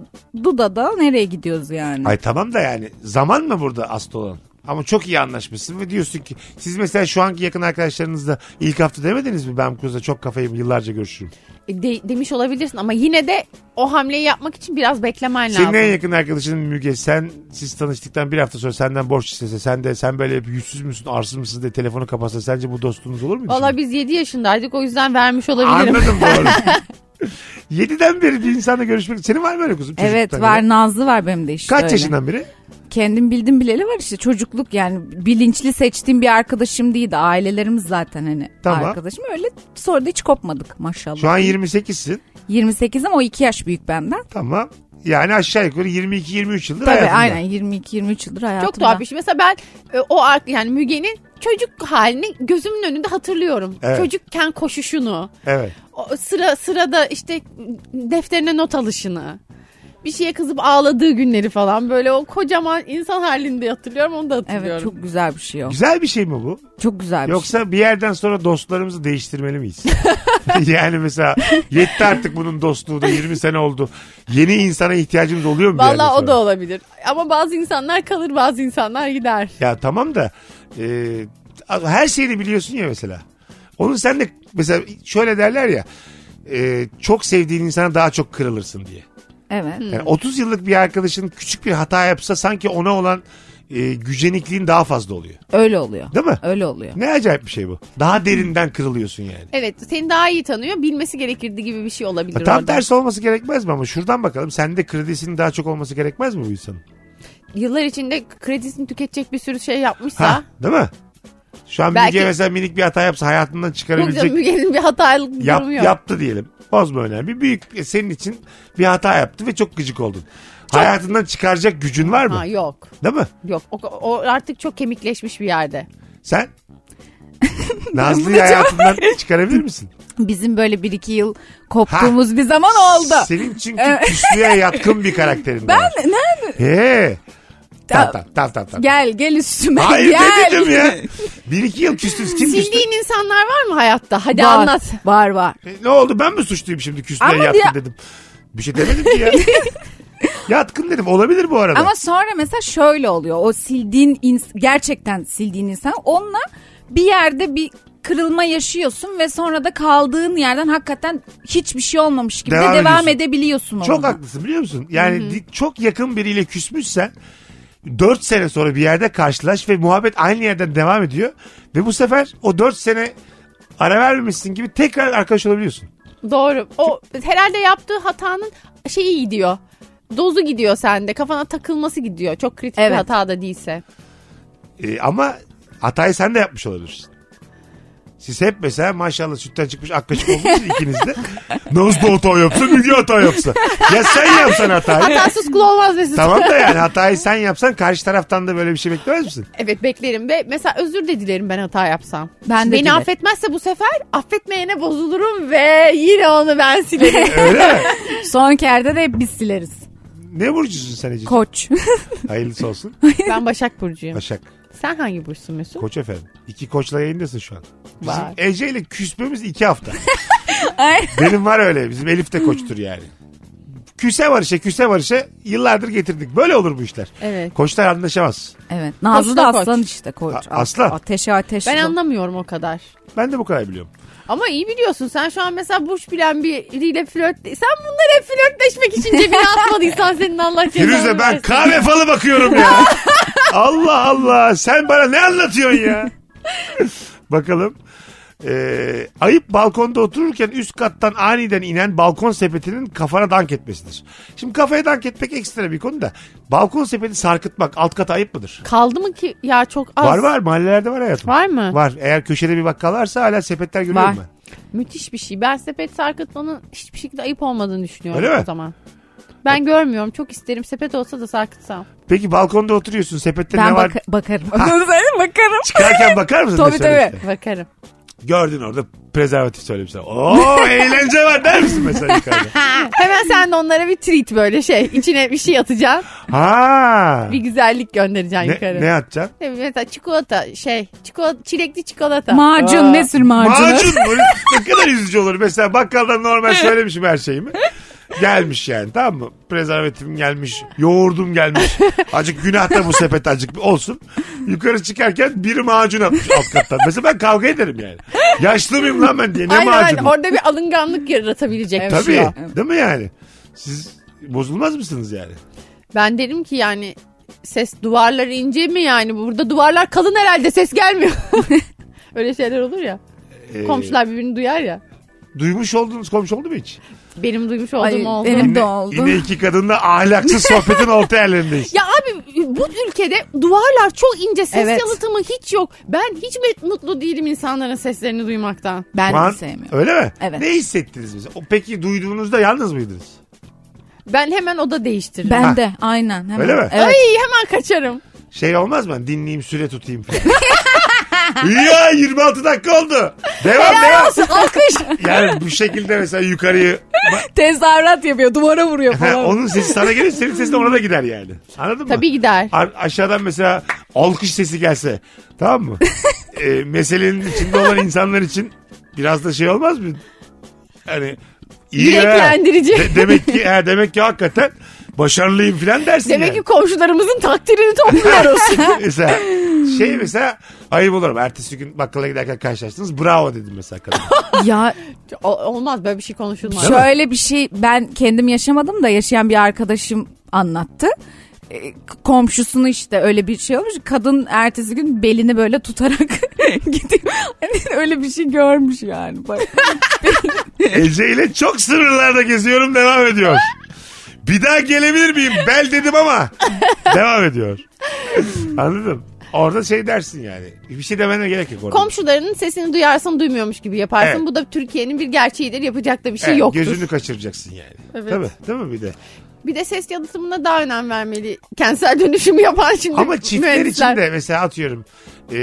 Duda'da nereye gidiyoruz yani? Ay tamam da yani zaman mı burada asıl olan? Ama çok iyi anlaşmışsın ve diyorsun ki siz mesela şu anki yakın arkadaşlarınızla ilk hafta demediniz mi ben bu kızla çok kafayı yıllarca görüşürüm. E, de- demiş olabilirsin ama yine de o hamleyi yapmak için biraz beklemen lazım. Senin en yakın arkadaşın Müge sen siz tanıştıktan bir hafta sonra senden borç istese sen de sen böyle hep yüzsüz müsün arsız mısın diye telefonu kapatsa sence bu dostluğunuz olur mu? Valla biz 7 yaşındaydık o yüzden vermiş olabilirim. Anladım doğru. Yediden beri bir insanla görüşmek senin var mı öyle kızım? Evet Çocukluktan beri? var Nazlı var benim de işte Kaç öyle. yaşından biri? Kendim bildim bileli var işte çocukluk yani bilinçli seçtiğim bir arkadaşım değildi. Ailelerimiz zaten hani Tamam. arkadaşım öyle sonra da hiç kopmadık maşallah. Şu an 28'sin. 28 ama o 2 yaş büyük benden. Tamam. Yani aşağı yukarı 22-23 yıldır Tabii hayatında. aynen 22-23 yıldır hayatımda. Çok tuhaf bir şey. Mesela ben e, o ar- yani Müge'nin çocuk halini gözümün önünde hatırlıyorum. Evet. Çocukken koşuşunu, Evet. o sıra sırada işte defterine not alışını, bir şeye kızıp ağladığı günleri falan böyle o kocaman insan halinde hatırlıyorum onu da hatırlıyorum. Evet çok güzel bir şey o. Güzel bir şey mi bu? Çok güzel bir şey. Yoksa bir yerden sonra dostlarımızı değiştirmeli miyiz? yani mesela yetti artık bunun dostluğu da 20 sene oldu. Yeni insana ihtiyacımız oluyor mu? bir yerden Valla sonra? o da olabilir. Ama bazı insanlar kalır bazı insanlar gider. Ya tamam da e, her şeyini biliyorsun ya mesela. Onun sen de mesela şöyle derler ya. e, çok sevdiğin insana daha çok kırılırsın diye. Evet. Hmm. Yani 30 yıllık bir arkadaşın küçük bir hata yapsa sanki ona olan e, gücenikliğin daha fazla oluyor. Öyle oluyor. Değil mi? Öyle oluyor. Ne acayip bir şey bu. Daha derinden kırılıyorsun yani. Evet seni daha iyi tanıyor bilmesi gerekirdi gibi bir şey olabilir Ha, E, tam orada. tersi olması gerekmez mi ama şuradan bakalım. Sende kredisinin daha çok olması gerekmez mi bu insanın? Yıllar içinde kredisini tüketecek bir sürü şey yapmışsa. Ha, değil mi? Şu an Belki- Müge mesela minik bir hata yapsa hayatından çıkarabilecek Yok Müge'nin bir hatalık durumu yap, yok. yaptı diyelim. Bozma önemli. Büyük e, senin için bir hata yaptı ve çok gıcık oldun. Hayatından çıkaracak gücün var mı? Ha yok. Değil mi? Yok. O, o artık çok kemikleşmiş bir yerde. Sen Nazlı'yı hayatından çıkarabilir misin? Bizim böyle bir iki yıl koptuğumuz bir zaman oldu. Senin çünkü Evet. küslüğe yatkın bir karakterin var. Ne- ne- He. Tamam tamam tamam tamam. Gel gel üstüme Hayır gel. ne dedim ya? Bir iki yıl küstünüz. Kim küstü? Sildiğin insanlar var mı hayatta? Hadi Var, anlat. Var var. E, Ne oldu ben mi suçluyum şimdi küstüğe Ama yatkın ya- dedim. Bir şey demedim ki ya. yatkın dedim olabilir bu arada. Ama sonra mesela şöyle oluyor. O sildiğin ins- gerçekten sildiğin insan onunla bir yerde bir kırılma yaşıyorsun ve sonra da kaldığın yerden hakikaten hiçbir şey olmamış gibi Devam de devam ediyorsun. edebiliyorsun Çok onunla. haklısın biliyor musun? Yani di- çok yakın biriyle küsmüşsen 4 sene sonra bir yerde karşılaş ve muhabbet aynı yerden devam ediyor. Ve bu sefer o 4 sene ara vermemişsin gibi tekrar arkadaş olabiliyorsun. Doğru. O herhalde yaptığı hatanın şeyi gidiyor. Dozu gidiyor sende. Kafana takılması gidiyor. Çok kritik bir Evet. hata da değilse. E, ama hatayı sen de yapmış olabilirsin. Siz hep mesela maşallah sütten çıkmış ak kaşık olmuşsunuz ikiniz de. Nasıl da hata yapsa Müge hata yapsa. Ya sen yapsan hatayı. Hatasız kul olmaz Mesut. tamam da yani hatayı sen yapsan karşı taraftan da böyle bir şey beklemez misin? Evet beklerim ve mesela özür de dilerim ben hata yapsam. Ben de Beni dilerim. affetmezse bu sefer affetmeyene bozulurum ve yine onu ben silerim. Öyle mi? Son kerde de hep biz sileriz. Ne burcusun sen Ece? Koç. Hayırlısı olsun. ben Başak Burcu'yum. Başak. Sen hangi burçsun Mesut? Koç efendim. İki koçla yayındasın şu an. Bizim Vay. Ece ile küsmemiz iki hafta. Ay. Benim var öyle. Bizim Elif de koçtur yani. Küse varışa küse varışa yıllardır getirdik. Böyle olur bu işler. Evet. Koçlar anlaşamaz. Evet. Nazlı da Aslan koç. aslan işte koç. A- aslan. Ateşe ateş. Ben bu. anlamıyorum o kadar. Ben de bu kadar biliyorum. Ama iyi biliyorsun sen şu an mesela burç bilen biriyle flört... Sen bunları hep flörtleşmek için cebine atmadıysan senin Allah cezanı Firuze ben versin. kahve falı bakıyorum ya. Allah Allah sen bana ne anlatıyorsun ya? Bakalım. Ee, ayıp balkonda otururken üst kattan aniden inen balkon sepetinin kafana dank etmesidir. Şimdi kafaya dank etmek ekstra bir konu da. Balkon sepeti sarkıtmak alt kata ayıp mıdır? Kaldı mı ki ya çok az. Var var mahallelerde var hayatım. Var mı? Var. Eğer köşede bir bakkal varsa hala sepetler görüyorum Var. ben. Müthiş bir şey. Ben sepet sarkıtmanın hiçbir şekilde ayıp olmadığını düşünüyorum Öyle mi? o zaman. Ben görmüyorum. Çok isterim. Sepet olsa da sarkıtsam. Peki balkonda oturuyorsun sepette Ben ne var? baka- bakarım. Sen bakarım. Çıkarken bakar mısın? ne tabii tabii. söylemişler? Bakarım. Gördün orada prezervatif söylemişler. Oo eğlence var der misin mesela yukarıda? Hemen sen de onlara bir treat böyle şey. içine bir şey atacaksın. Ha. Bir güzellik göndereceksin Ne, yukarı. ne atacaksın? Ne bileyim, Mesela çikolata şey. Çikolata, çilekli çikolata. Macun Aa. ne sür macunu? Macun mu? ne kadar üzücü olur. Mesela bakkaldan normal söylemişim her şeyimi. Gelmiş yani tamam mı? Prezervatifim gelmiş, yoğurdum gelmiş. Acık günah da bu sepet acık olsun. Yukarı çıkarken biri macun atmış alt kattan. Mesela ben kavga ederim yani. Yaşlı mıyım lan ben diye. Ne aynen aynen. macunu? Orada bir alınganlık yaratabilecek bir şey Tabii. o. Değil mi yani? Siz bozulmaz mısınız yani? Ben derim ki yani ses duvarları ince mi yani? Burada duvarlar kalın herhalde ses gelmiyor. Öyle şeyler olur ya. Ee, Komşular birbirini duyar ya. Duymuş olduğunuz komşu oldu mu hiç? Benim duymuş olduğum Ay, oldu. benim de Yine- oldu. Yine iki kadınla ahlaksız sohbetin orta yerlerindeyiz. Ya abi bu ülkede duvarlar çok ince ses Evet. yalıtımı hiç yok. Ben hiç mi mutlu değilim insanların seslerini duymaktan. Ben Ulan, de sevmiyorum. Öyle mi? Evet. Ne hissettiniz bize? O, peki duyduğunuzda yalnız mıydınız? Ben hemen oda değiştiririm. Ben Ha. de aynen. Hemen. Öyle mi? Ay Evet. hemen kaçarım. Şey olmaz mı? Dinleyeyim süre tutayım falan. ya 26 dakika oldu. Devam devam. Alkış. Yani bu şekilde mesela yukarıyı Tezahürat yapıyor. Duvara vuruyor Ha, falan. onun sesi sana gelir senin sesin ona da gider yani. Anladın mı? Tabii gider. A- aşağıdan mesela alkış sesi gelse tamam mı? Ee, meselenin içinde olan insanlar için biraz da şey olmaz mı? Hani iyi ha. Yüreklendirici. De- demek ki ha, demek ki hakikaten başarılıyım falan dersin Demek ki yani. komşularımızın takdirini topluyoruz. mesela şey mesela ayıp olurum. Ertesi gün bakkala giderken karşılaştınız. Bravo dedim mesela kadına. ya O- olmaz böyle bir şey konuşulmaz. Şöyle bir şey ben kendim yaşamadım da yaşayan bir arkadaşım anlattı. E, Komşusunu işte öyle bir şey olmuş. Kadın ertesi gün belini böyle tutarak gidiyor. Hani öyle bir şey görmüş yani. Bak- Ece ile çok sınırlarda geziyorum devam ediyor. Bir daha gelebilir miyim? Bel dedim ama devam ediyor. Anladım. Orada şey dersin yani. Bir şey demene gerek yok orada. Komşularının sesini duyarsın duymuyormuş gibi yaparsın. Evet. Bu da Türkiye'nin bir gerçeğidir. Yapacak da bir şey Evet, yoktur. Gözünü kaçıracaksın yani. Evet. Tabii, değil mi bir de? Bir de ses yalıtımına daha önem vermeli. Kentsel dönüşümü yapan şimdi Ama çiftler mühendisler. için de mesela atıyorum e,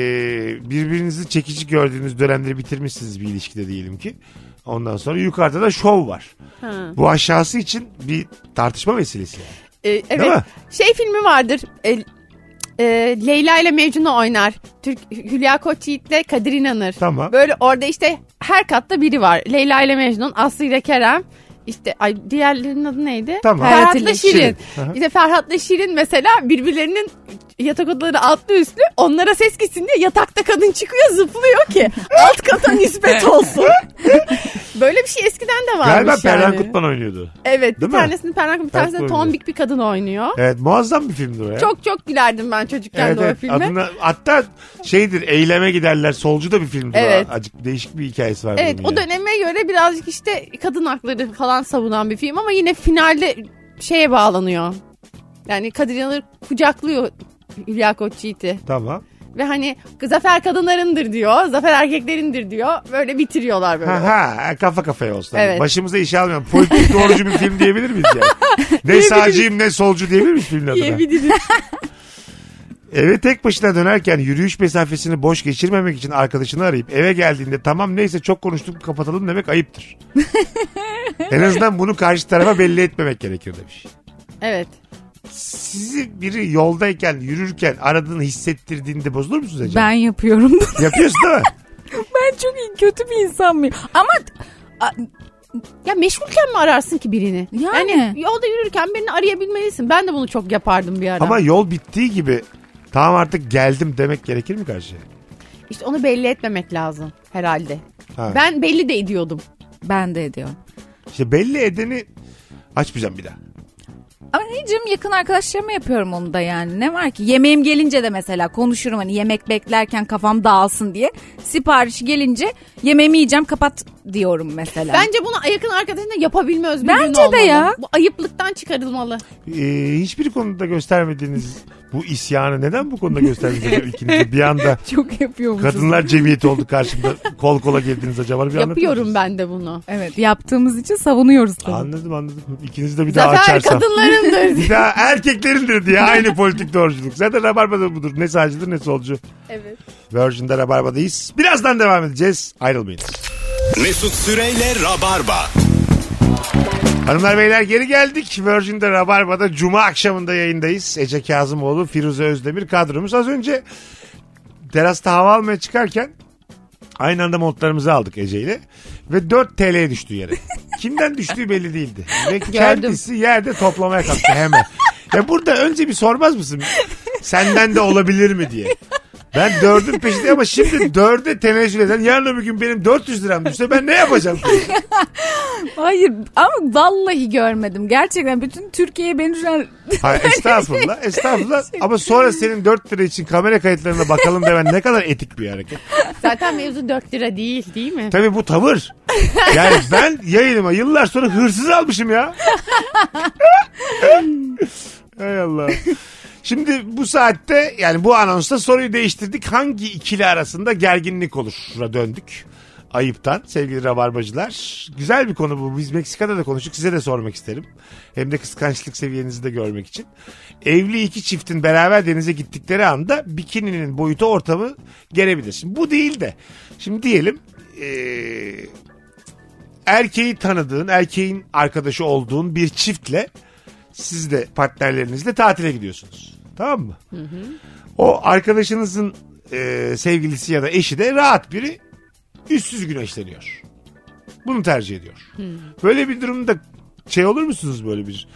birbirinizi çekici gördüğünüz dönemleri bitirmişsiniz bir ilişkide diyelim ki. Ondan sonra yukarıda da şov var. Ha. Bu aşağısı için bir tartışma vesilesi. yani. Ee, evet. mi? Şey filmi vardır. E, e, Leyla ile Mecnun'u oynar. Türk Hülya Koçyiğit ile Kadir İnanır. Tamam. Böyle orada işte her katta biri var. Leyla ile Mecnun, Aslı ile Kerem. İşte ay diğerlerinin adı neydi? Tamam. Ferhat Ferhat ile ile Şirin. Şirin. Aha. İşte Ferhat ile Şirin mesela birbirlerinin yatak odaları altlı üstlü onlara ses gitsin diye yatakta kadın çıkıyor zıplıyor ki alt kata nispet olsun. Böyle bir şey eskiden de varmış Galiba yani. Perhan Kutman oynuyordu. Evet Değil bir mi? tanesini Perhan bir tanesini Tatlı tombik bir kadın oynuyor. Evet muazzam bir filmdi o ya. Çok çok gülerdim ben çocukken Evet, de o evet. filme. Adına, hatta şeydir eyleme giderler solcu da bir filmdir. Evet. o. Acık değişik bir hikayesi var. Evet bunun o yani. döneme göre birazcık işte kadın hakları falan savunan bir film ama yine finalde şeye bağlanıyor. Yani Kadir Yanır kucaklıyor Hülya Koçyiğit'i Tamam. ve hani zafer kadınlarındır diyor, zafer erkeklerindir diyor. Böyle bitiriyorlar böyle. Ha, ha, kafa kafaya olsun. Hani Evet. Başımıza iş almayalım. Politik doğrucu bir film diyebilir miyiz yani? ne sağcıyım ne solcu diyebilir miyiz filmin adına? Diyebiliriz. Eve tek başına dönerken yürüyüş mesafesini boş geçirmemek için arkadaşını arayıp eve geldiğinde tamam neyse çok konuştuk kapatalım demek ayıptır. en azından bunu karşı tarafa belli etmemek gerekir demiş. evet. Sizi biri yoldayken yürürken aradığını hissettirdiğinde bozulur musunuz acaba? ben yapıyorum bunu. Yapıyorsun değil mi? ben çok iyi, kötü bir insan mıyım? Ama a- Ya meşgulken mi ararsın ki birini? Hani Yani. yolda yürürken birini arayabilmelisin. Ben de bunu çok yapardım bir ara. Ama yol bittiği gibi tamam artık geldim demek gerekir mi karşıya? İşte onu belli etmemek lazım herhalde. Ha. Ben belli de ediyordum. Ben de ediyorum. İşte belli edeni açmayacağım bir daha. Ama necim yakın arkadaşlarıma yapıyorum onu da yani. Ne var ki? Yemeğim gelince de mesela konuşurum hani yemek beklerken kafam dağılsın diye. Sipariş gelince yemeğimi yiyeceğim kapat diyorum mesela. Bence bunu yakın arkadaşına yapabilme özgürlüğün Bence de olmalı. ya. Bu ayıplıktan çıkarılmalı. Ee, hiçbir konuda göstermediğiniz bu isyanı neden bu konuda göstermediniz ikiniz bir anda çok yapıyormuşuz. kadınlar cemiyeti oldu karşımda kol kola girdiniz acaba bir Yapıyorum ben de bunu. Evet yaptığımız için savunuyoruz tabii. Anladım anladım. İkiniz de bir daha Zafer açarsam. kadınlarındır. Bir daha erkeklerindir diye aynı politik doğruculuk. Zaten Rabarba'da budur. Ne sağcıdır ne solcu. evet. Virgin'de Rabarba'dayız. Birazdan devam edeceğiz. Ayrılmayın. Mesut Süreyle Rabarba. Hanımlar beyler geri geldik. Virgin'de Rabarba'da Cuma akşamında yayındayız. Ece Kazımoğlu, Firuze Özdemir kadromuz. Az önce terasta hava almaya çıkarken aynı anda montlarımızı aldık Ece ile. Ve 4 TL'ye düştü yere. Kimden düştüğü belli değildi. Ve kendisi yerde toplamaya kalktı hemen. Ya burada önce bir sormaz mısın? Senden de olabilir mi diye. Ben dördün peşinde ama şimdi dörde tenezzül eden yarın öbür gün benim 400 liram düşse ben ne yapacağım? Hayır ama vallahi görmedim. Gerçekten bütün Türkiye beni şu an... Hayır estağfurullah estağfurullah ama sonra senin 4 lira için kamera kayıtlarına bakalım demen ne kadar etik bir hareket. Zaten mevzu 4 lira değil değil mi? Tabii bu tavır. Yani ben yayınıma yıllar sonra hırsız almışım ya. Hay Allah. Şimdi bu saatte yani bu anonsta soruyu değiştirdik. Hangi ikili arasında gerginlik olur? Şura döndük. Ayıptan sevgili rabarbacılar. Güzel bir konu bu. Biz Meksika'da da konuştuk. Size de sormak isterim. Hem de kıskançlık seviyenizi de görmek için. Evli iki çiftin beraber denize gittikleri anda bikininin boyutu ortamı gelebilir. Şimdi bu değil de. Şimdi diyelim eee, erkeği tanıdığın, erkeğin arkadaşı olduğun bir çiftle siz de partnerlerinizle tatile gidiyorsunuz. Tamam mı? O arkadaşınızın e, sevgilisi ya da eşi de rahat biri üstsüz güneşleniyor. Bunu tercih ediyor. Böyle bir durumda şey olur musunuz böyle bir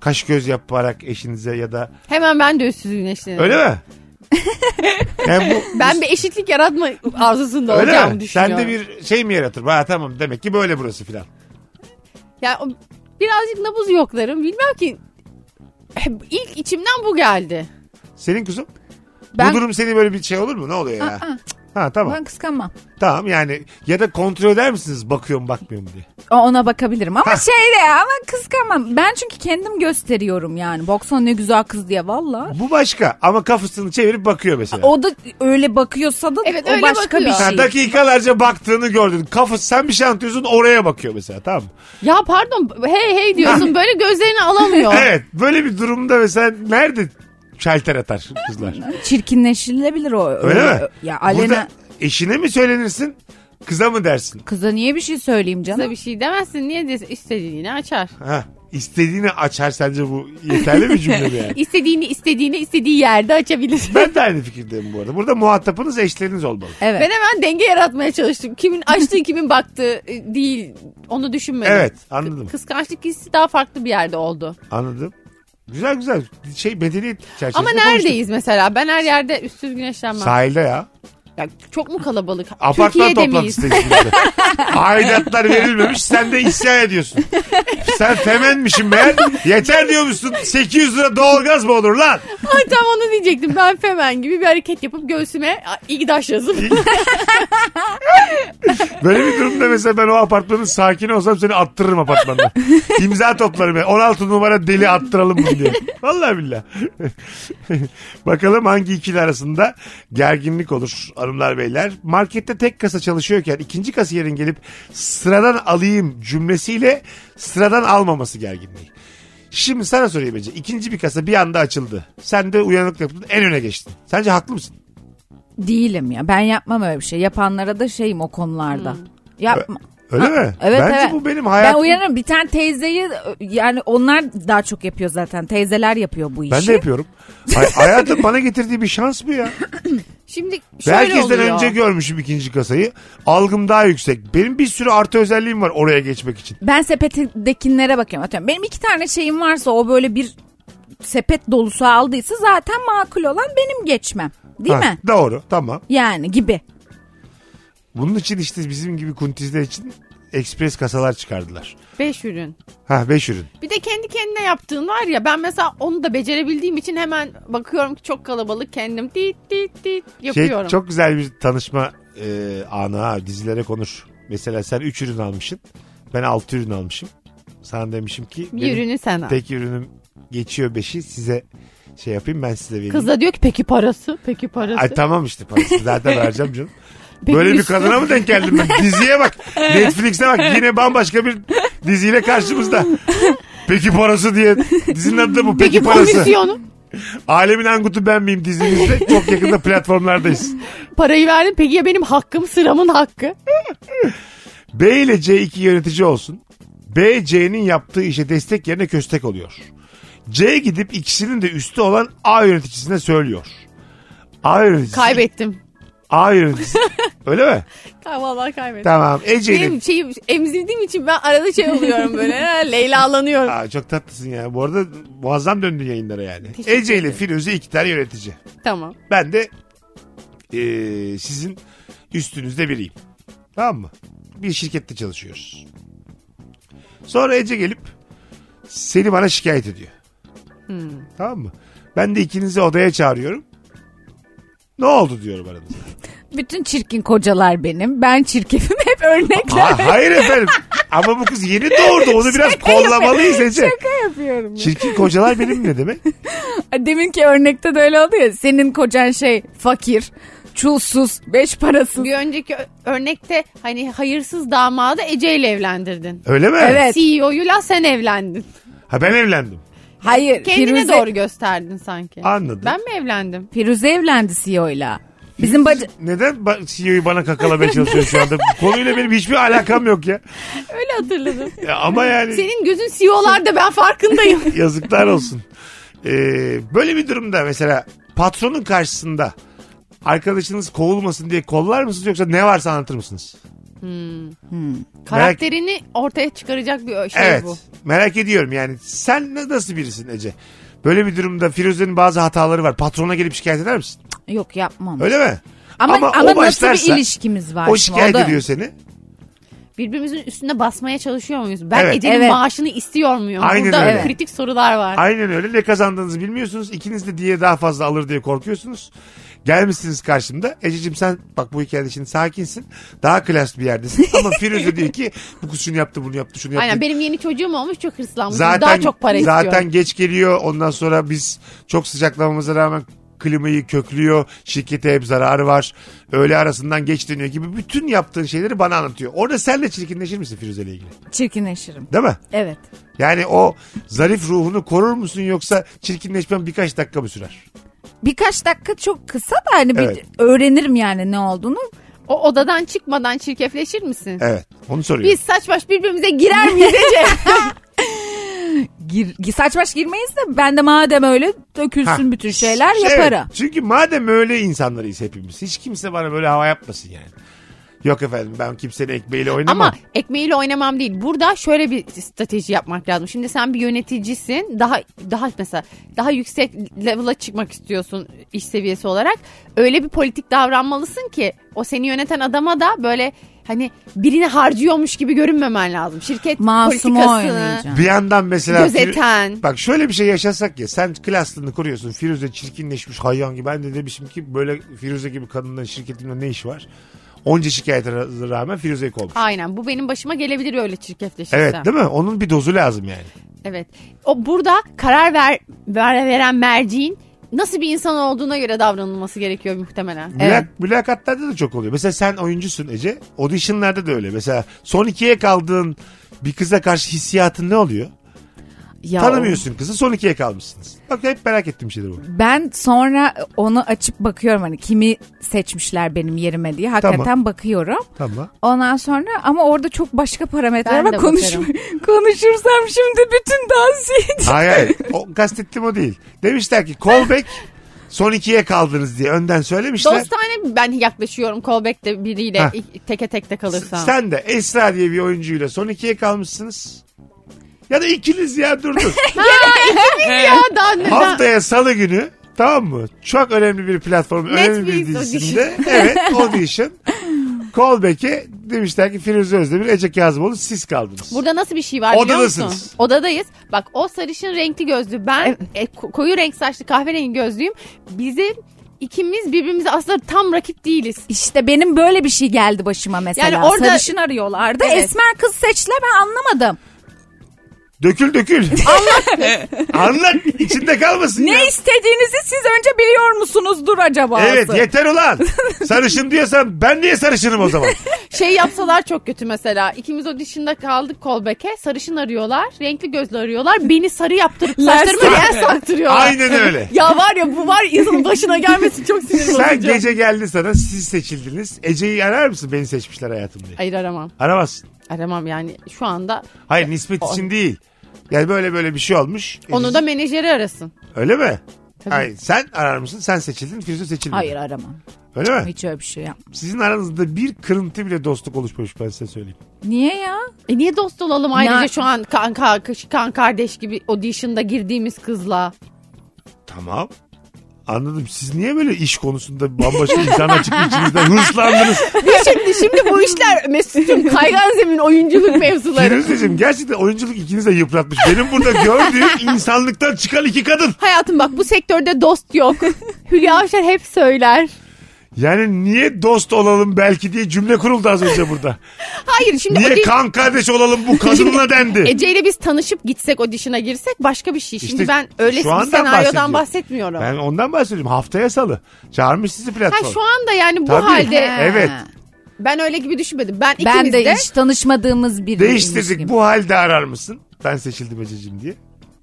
kaş göz yaparak eşinize ya da Hemen ben de üstsüz güneşlenirim. öyle mi? yani bu Ben bir eşitlik yaratma arzusunda öyle olacağımı mi? düşünüyorum. Sen de bir şey mi yaratır? Ha, tamam demek ki böyle burası filan. Ya o- birazcık nabız yoklarım. Bilmem ki ilk içimden bu geldi. Senin kuzum? Ben- Bu durum seni böyle bir şey olur mu? Ne oluyor ya? Aa, Ha tamam. ben kıskanmam. Tamam yani ya da kontrol eder misiniz bakıyor mu bakmıyor mu diye. O- Ona bakabilirim ama Hah. şey de ya, ama kıskanmam. Ben çünkü kendim gösteriyorum yani. Baksana ne güzel kız diye valla. Bu başka ama kafasını çevirip bakıyor mesela. O da öyle bakıyorsa da Evet, o öyle başka bakıyor. bir Ha, şey. dakikalarca baktığını gördün. Kafası sen bir şey anlatıyorsun oraya bakıyor mesela tamam mı? Ya pardon hey hey diyorsun böyle gözlerini alamıyor. Evet böyle bir durumda mesela nerede şalter atar kızlar? Çirkinleşilebilir o. Öyle mi? e, Ya alena Burada eşine mi söylenirsin kıza mı dersin? kıza niye bir şey söyleyeyim Kıza canım? bir şey demezsin niye desin istediğini açar. Ha, istediğini açar sence bu yeterli bir cümle mi yani? İstediğini istediğini istediği yerde açabilir. Ben de aynı fikirdeyim bu arada. Burada muhatapınız eşleriniz olmalı. Evet. Ben hemen denge yaratmaya çalıştım. Kimin açtığı kimin baktığı e, değil onu düşünmedim. Evet anladım Kıskançlık hissi daha farklı bir yerde oldu. anladım. Güzel güzel şey medeniyet çerçevesinde Ama konuştuk. neredeyiz mesela? Ben her yerde üstsüz güneşlenmem. Sahilde ya. Ya çok mu kalabalık? Apartman Türkiye'de miyiz? toplantısı içinde. Aidatlar verilmemiş sen de isyan ediyorsun. Sen femenmişim meğer. Yeter diyormuşsun 800 lira doğalgaz mı olur lan? Ay tam onu diyecektim. Ben Femen gibi bir hareket yapıp göğsüme "Aa, İGDAŞ yazıp Böyle bir durumda mesela ben o apartmanın sakini olsam seni attırırım apartmandan. İmza toplarım ya. 16 numara deli attıralım bunu diye. Vallahi billah. Bakalım hangi ikili arasında gerginlik olur hanımlar beyler. Markette tek kasa çalışıyorken ikinci kasiyerin gelip sıradan alayım cümlesiyle sıradan almaması gerginliği. Şimdi sana sorayım Ece. İkinci bir kasa bir anda açıldı. Sen de uyanıklık yaptın en öne geçtin. Sence haklı mısın? Değilim ya. Ben yapmam öyle bir şey. Yapanlara da şeyim o konularda. Yapma. Öyle Ha, mi? Evet Bence evet. bu benim hayatım. Ben uyanırım. Bir tane teyzeyi yani onlar daha çok yapıyor zaten. Teyzeler yapıyor bu işi. Ben de yapıyorum. Hay- hayatın bana getirdiği bir şans bu ya. Şimdi Ve şöyle herkesten oluyor. önce görmüşüm ikinci kasayı. Algım daha yüksek. Benim bir sürü artı özelliğim var oraya geçmek için. Ben sepetindekilere bakıyorum. Atıyorum. Benim iki tane şeyim varsa o böyle bir sepet dolusu aldıysa zaten makul olan benim geçmem. Değil Ha, mi? Doğru tamam. Yani gibi. Bunun için işte bizim gibi kuntizler için ekspres kasalar çıkardılar. Beş ürün. Ha 5 ürün. Bir de kendi kendine yaptığın var ya ben mesela onu da becerebildiğim için hemen bakıyorum ki çok kalabalık kendim dit dit dit Şey, yapıyorum. çok güzel bir tanışma e, anı ha dizilere konur. Mesela sen 3 ürün almışsın. Ben 6 ürün almışım. Sana demişim ki Bir benim ürünü sen al. tek ürünüm geçiyor 5'i size şey yapayım ben size vereyim. Kız da diyor ki peki parası? Peki parası? Ay tamam işte parası zaten vereceğim canım. Peki Böyle bir üstü? kadına mı denk geldim ben? Diziye bak. Netflix'e bak. Yine bambaşka bir diziyle karşımızda. Peki parası diye. Dizinin adı da bu. Peki, Peki parası. komisyonu? Alemin Angut'u ben miyim dizimizde? Çok yakında platformlardayız. Parayı verdin peki ya benim hakkım sıramın hakkı? B ile C iki yönetici olsun. B, C'nin yaptığı işe destek yerine köstek oluyor. C gidip ikisinin de üstü olan A yöneticisine söylüyor. A yöneticisi. Kaybettim. A yöneticisi. Öyle mi? Tamam vallahi kaybettim. Tamam. E, Ece'nin. Benim şeyim emzirdiğim için ben arada şey oluyorum böyle ha, Leyla'lanıyorum. Aa, çok tatlısın ya. Bu arada muazzam döndün yayınlara yani. Teşekkür Ece ile ederim. Firuze iki tane yönetici. tamam. Ben de eee, sizin üstünüzde biriyim. Tamam mı? Bir şirkette çalışıyoruz. Sonra Ece gelip seni bana şikayet ediyor. Hmm. Tamam mı? Ben de ikinizi odaya çağırıyorum. Ne oldu diyorum aranızda. Bütün çirkin kocalar benim. Ben çirkinim hep örnekler. Ha, hayır efendim. Ama bu kız yeni doğurdu. Onu biraz kollamalıyız Ece. Şaka yapıyorum. Çirkin kocalar benim ne demek? Deminki örnekte de öyle oldu ya. Senin kocan şey fakir, çulsuz, beş parasız. Bir önceki ö- örnekte hani hayırsız damadı Ece ile evlendirdin. Öyle mi? Evet. CEO'yla sen evlendin. Ha ben evlendim. Hayır. Kendine Firuze, doğru gösterdin sanki. Anladım. Ben mi evlendim? Firuze evlendi CEO'yla. Bizim baca... Neden ba- CEO'yu bana kakalamaya çalışıyor şu anda? Bu Konuyla benim hiçbir alakam yok ya. Öyle hatırladım. Ya ama yani Senin gözün CEO'larda ben farkındayım. yazıklar olsun. Ee, böyle bir durumda mesela patronun karşısında arkadaşınız kovulmasın diye kollar mısınız yoksa ne varsa anlatır mısınız? Karakterini ortaya çıkaracak bir şey evet. bu. Merak ediyorum yani sen ne- nasıl birisin Ece? Böyle bir durumda Firuze'nin bazı hataları var. Patrona gelip şikayet eder misin? Yok yapmam. Öyle mi? Ama, ama, Ama o nasıl başlarsa- bir ilişkimiz var? o şimdi? şikayet da- ediyor seni. Birbirimizin üstüne basmaya çalışıyor muyuz? Ben Evet. Ece'nin Evet. maaşını istiyor muyum? Aynen Burada öyle. kritik sorular var. Aynen öyle. Ne kazandığınızı bilmiyorsunuz. İkiniz de diye daha fazla alır diye korkuyorsunuz. Gelmişsiniz karşımda. Ececiğim sen bak bu hikayede şimdi sakinsin. Daha klas bir yerdesin. Ama Firuze diyor ki bu kız şunu yaptı bunu yaptı şunu yaptı. Aynen benim yeni çocuğum olmuş çok hırslanmışım. Daha çok para zaten istiyorum. geç geliyor. Ondan sonra biz çok sıcaklamamıza rağmen klimayı köklüyor. Şirkete hep zararı var. Öğle arasından geç dönüyor gibi bütün yaptığın şeyleri bana anlatıyor. Orada sen de çirkinleşir misin Firuze ile ilgili? Çirkinleşirim. Değil mi? Evet. Yani o zarif ruhunu korur musun yoksa çirkinleşmen birkaç dakika mı sürer? Birkaç dakika çok kısa da hani bir Evet. öğrenirim yani ne olduğunu. O odadan çıkmadan çirkefleşir misin? Evet. Onu soruyorum. Biz saç baş birbirimize girer miyiz Ece? Gir, saç baş girmeyiz de ben de madem öyle dökülsün bütün şeyler Evet. yaparım. Çünkü madem öyle insanlarıyız hepimiz. Hiç kimse bana böyle hava yapmasın yani. Yok efendim ben kimsenin ekmeğiyle oynamam. Ama ekmeğiyle oynamam değil. Burada şöyle bir strateji yapmak lazım. Şimdi sen bir yöneticisin. Daha daha mesela daha yüksek level'a çıkmak istiyorsun iş seviyesi olarak. Öyle bir politik davranmalısın ki o seni yöneten adama da böyle hani birini harcıyormuş gibi görünmemen lazım. Şirket Masumu politikasını oynayacağım. Bir yandan mesela Fir- Gözeten. bak şöyle bir şey yaşasak ya sen klaslığını koruyorsun Firuze çirkinleşmiş hayvan gibi ben de demişim ki böyle Firuze gibi kadının şirketimde ne işi var? Onca şikayete ra- rağmen Firuze'yi kovmuş. Aynen bu benim başıma gelebilir öyle çirkefleşirsem. Evet değil mi? Onun bir dozu lazım yani. Evet. O burada karar ver, ver- veren merciğin nasıl bir insan olduğuna göre davranılması gerekiyor muhtemelen. Mülak, Mülakatlarda da çok oluyor. Mesela sen oyuncusun Ece. Auditionlarda da öyle. Mesela son ikiye kaldığın bir kıza karşı hissiyatın ne oluyor? Ya Tanımıyorsun kızı son ikiye kalmışsınız. Bak hep merak ettiğim şeydir bu. Ben sonra onu açıp bakıyorum hani kimi seçmişler benim yerime diye. Hakikaten Tamam. bakıyorum. Tamam. Ondan sonra ama orada çok başka parametreler Ben var. de Konuş, bakarım. konuşursam şimdi bütün dans yedi. Hayır hayır. O, kastettiğim o değil. Demişler ki callback Son ikiye kaldınız diye önden söylemişler. Dostane ben yaklaşıyorum Kolbek'te biriyle Ha. i- teke tekte kalırsam. Sen de Esra diye bir oyuncuyla son ikiye kalmışsınız. Ya da ikiniz ya dur dur. ya daha ne? daha- Haftaya salı günü tamam mı? Çok önemli bir platform, önemli bir Netflix dizisinde. evet audition. Callback'e demişler ki Firuze Özdemir, Ece Kazımoğlu siz kaldınız. Burada nasıl bir şey var biliyor Odadasınız. musun? Odadayız. Bak o sarışın renkli gözlü ben e, ko- koyu renk saçlı kahverengi gözlüyüm. Bizim ikimiz birbirimize aslında tam rakip değiliz. İşte benim böyle bir şey geldi başıma mesela. Yani orada- Sarışın arıyorlardı. Evet. Esmer kız seçtiler ben anlamadım. Dökül dökül. Anlat. Anlat. İçinde kalmasın ya. Ne istediğinizi siz önce biliyor musunuzdur acaba? Evet yeter ulan. Sarışın diyorsan ben niye sarışınım o zaman? Şey yapsalar çok kötü mesela. İkimiz o dışında kaldık kolbeke. Sarışın arıyorlar. Renkli gözlü arıyorlar. Beni sarı yaptırıp saçlarıma Lers- yer saktırıyorlar. Aynen öyle. Ya var ya bu var yazın başına gelmesi çok sinir bozucu. Sen gece geldi sana siz seçildiniz. Ece'yi arar mısın beni seçmişler hayatım diye? Hayır aramam. Aramazsın. Aramam yani şu anda. Hayır nispet için değil. Yani böyle böyle bir şey olmuş. Onu Ece- da menajeri arasın. Öyle mi? Hayır sen arar mısın? Sen seçildin Firuze seçilmedi. Hayır aramam. Öyle mi? Hiç öyle bir şey yapmam. Sizin aranızda bir kırıntı bile dostluk oluşmamış ben size söyleyeyim. Niye ya? E niye dost olalım ayrıca Ne- şu an kan, kan, kan kardeş gibi audition'da girdiğimiz kızla? Tamam. Anladım. Siz niye böyle iş konusunda bambaşka insana çıkıp içinizden hırslandınız? Ya şimdi şimdi bu işler Mesut'un kaygan zemin oyunculuk mevzuları. Firuzeciğim gerçekten oyunculuk ikiniz de yıpratmış. Benim burada gördüğüm insanlıktan çıkan iki kadın. Hayatım bak bu sektörde dost yok. Hülya Avşar hep söyler. Yani niye dost olalım belki diye cümle kuruldu az önce burada. Hayır şimdi Niye audition- kan kardeş olalım bu kadınla dendi. Ece ile biz tanışıp gitsek audition'a girsek başka bir şey. Şimdi İşte ben öyle bir şu andan bahsediyorum. senaryodan bahsetmiyorum. Ben ondan bahsediyorum. Haftaya salı. Çağırmış sizi platform. Ha, şu anda yani bu Tabii. halde Ha. Evet. ben öyle gibi düşünmedim. Ben, Ben Ee, ikimiz de de hiç tanışmadığımız biri. Değiştirdik. Bu halde arar mısın? Ben seçildim Ececiğim diye.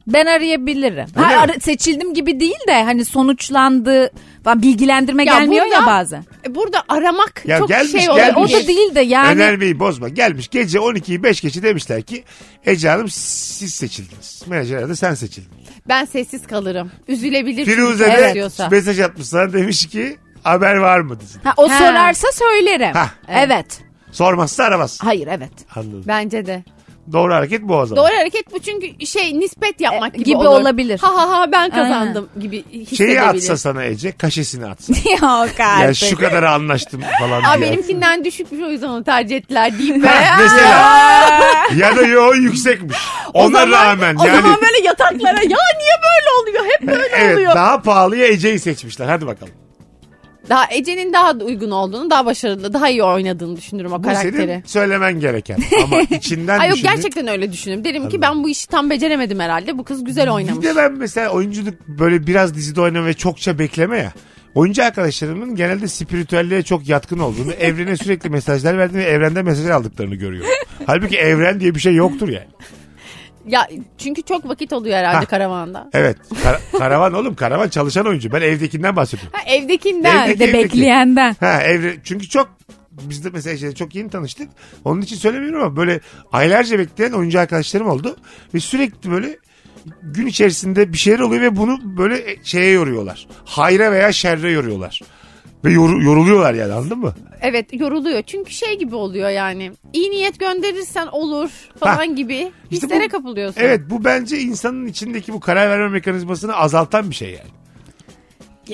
Ben arayabilirim. Öyle Ha, mi? ara- seçildim gibi değil de hani sonuçlandı falan bilgilendirme Ya gelmiyor burada- ya bazen. burada aramak Ya çok gelmiş, şey oluyor. gelmiş. O da değil de yani. Önermeyi bozma. Gelmiş gece 12'yi 5 geçe demişler ki Ece Hanım siz seçildiniz. Menajer de sen seçildin. Ben sessiz kalırım. Üzülebilir. Firuze çünkü de diyorsa. mesaj atmış sana demiş ki haber var mı dizin. Ha, o Ha. sorarsa söylerim. Ha. Evet. Sormazsa aramaz. Hayır evet. Anladım. Bence de. Doğru hareket bu o zaman. Doğru hareket bu çünkü şey nispet yapmak E, gibi, gibi olur. olabilir. Ha ha ha ben kazandım gibi Şeyi hissedebilir. şey. atsa sana Ece kaşesini atsa. Yok ya artık. şu kadar anlaştım falan Aa, diye. benimkinden düşükmüş o yüzden onu tercih ettiler deyip be. Ha, mesela. ya da yo yüksekmiş. O Ona zaman- rağmen O yani. zaman böyle Hani yataklara ya niye böyle oluyor hep böyle Evet oluyor. daha pahalıya Ece'yi seçmişler. Hadi bakalım. Daha Ece'nin daha da uygun olduğunu, daha başarılı, daha iyi oynadığını düşünürüm o Bu karakteri. senin söylemen gereken. Ama içinden Ay yok düşündüğün- gerçekten öyle düşünürüm. Derim ki ben bu işi tam beceremedim herhalde. Bu kız güzel Bir oynamış. de ben mesela oyunculuk böyle biraz dizide oynama ve çokça bekleme ya. Oyuncu arkadaşlarımın genelde spiritüelliğe çok yatkın olduğunu, evrene sürekli mesajlar verdiğini ve evrenden mesajlar aldıklarını görüyorum. Halbuki evren diye bir şey yoktur yani. Ya çünkü çok vakit oluyor herhalde Ha. karavanda. Evet. kara- karavan oğlum karavan çalışan oyuncu. Ben evdekinden bahsediyorum. Ha, evdekinden. Evdeki- Bir de Peki. bekleyenden. Ha evre çünkü çok biz de mesela şeyde çok yeni tanıştık. Onun için söylemiyorum ama böyle aylarca bekleyen oyuncu arkadaşlarım oldu. Ve sürekli böyle gün içerisinde bir şeyler oluyor ve bunu böyle e, şeye yoruyorlar. Hayra veya şerre yoruyorlar. Ve yor- yoruluyorlar yani anladın mı? Evet yoruluyor. Çünkü şey gibi oluyor yani. İyi niyet gönderirsen olur falan Ha. gibi. İşte Hislere bu- kapılıyorsun. Evet bu bence insanın içindeki bu karar verme mekanizmasını azaltan bir şey yani.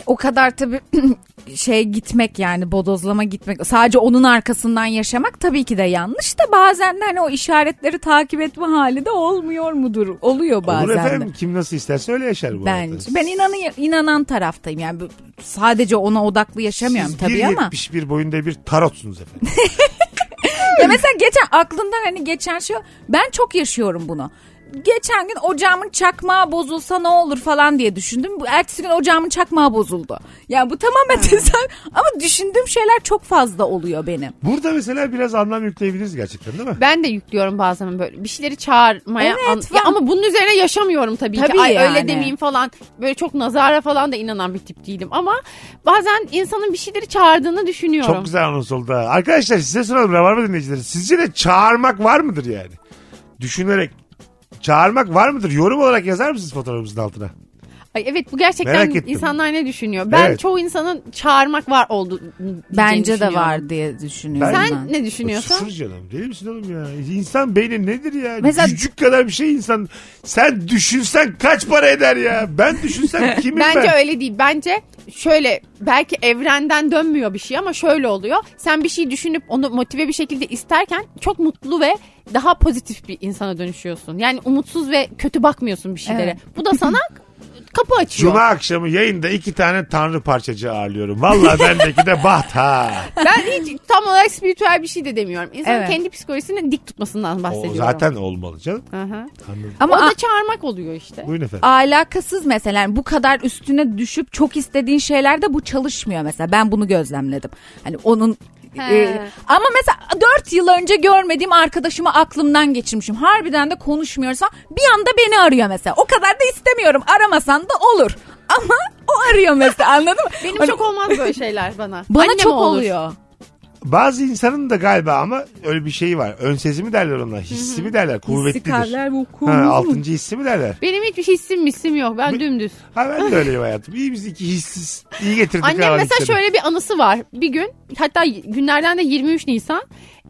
O kadar tabii şey gitmek yani bodozlama gitmek. Sadece onun arkasından yaşamak tabii ki de yanlış da bazen de hani o işaretleri takip etme hali de olmuyor mudur? Oluyor bazen Olur de. efendim kim nasıl isterse öyle yaşar bu Bence. Ben inanı, inanan taraftayım yani bu- sadece ona odaklı yaşamıyorum Siz tabii ama. 1.71 boyunda bir tarotsunuz efendim. Ya mesela geçen aklımdan hani geçen şey ben çok yaşıyorum bunu. Geçen gün ocağımın çakmağı bozulsa ne olur falan diye düşündüm. Bu Ertesi gün ocağımın çakmağı bozuldu. Yani bu tamamen tesadüf ama düşündüğüm şeyler çok fazla oluyor benim. Burada mesela biraz anlam yükleyebiliriz gerçekten değil mi? Ben de yüklüyorum bazen böyle bir şeyleri çağırmaya. Evet, an- falan. ya ama bunun üzerine yaşamıyorum tabii, Tabii ki. Ay öyle yani. demeyeyim falan. Böyle çok nazara falan da inanan bir tip değilim ama bazen insanın bir şeyleri çağırdığını düşünüyorum. Çok güzel anons oldu. ha. Arkadaşlar size soralım Rabarba dinleyicileri. Sizce de çağırmak var mıdır yani? Düşünerek çağırmak var mıdır? Yorum olarak yazar mısınız fotoğrafımızın altına? Ay evet bu gerçekten Merak ettim. insanlar ne düşünüyor? Ben Evet. çoğu insanın çağırmak var oldu. diyeceğini Bence de düşünüyorum. var diye düşünüyorum ben. Sen ne düşünüyorsun? Sus canım. Deli misin oğlum ya? İnsan beyni nedir ya? Mesela- Cücük kadar bir şey insan. Sen düşünsen kaç para eder ya? Ben düşünsem kimim ben? Bence öyle değil. Bence şöyle belki evrenden dönmüyor bir şey ama şöyle oluyor. Sen bir şey düşünüp onu motive bir şekilde isterken çok mutlu ve daha pozitif bir insana dönüşüyorsun. Yani umutsuz ve kötü bakmıyorsun bir şeylere. Evet. Bu da sana kapı açıyor. Cuma akşamı yayında iki tane tanrı parçacı ağırlıyorum. Vallahi bendeki de baht ha. Ben hiç tam olarak spiritüel bir şey de demiyorum. İnsanın Evet. kendi psikolojisini dik tutmasından bahsediyorum. O zaten olmalı canım. Aha. Ama o a- da çağırmak oluyor işte. Buyurun efendim. alakasız mesela Yani bu kadar üstüne düşüp çok istediğin şeylerde bu çalışmıyor mesela. Ben bunu gözlemledim. Hani onun He. e, ama mesela 4 yıl önce görmediğim arkadaşımı aklımdan geçirmişim. Harbiden de konuşmuyorsa bir anda beni arıyor mesela. O kadar da istemiyorum. Aramasan da olur. Ama o arıyor mesela anladın mı? Benim Hani çok olmaz böyle şeyler bana. bana Anneme çok olur. oluyor. Bazı insanın da galiba ama öyle bir şeyi var. Ön sezi mi derler ona? Hissi mi derler? Kuvvetlidir. İstikrarlar bu Ha, altıncı hissi mi derler? Benim hiçbir hissim misim yok. Ben Bir- dümdüz. Ha ben de öyleyim hayatım. İyi biz iki hissiz. İyi getirdik. Annem ha mesela hisleri. şöyle bir anısı var. Bir gün hatta günlerden de 23 Nisan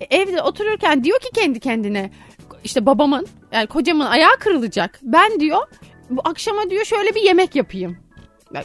e, evde otururken diyor ki kendi kendine işte babamın yani kocamın ayağı kırılacak. Ben diyor bu akşama diyor şöyle bir yemek yapayım. Ya,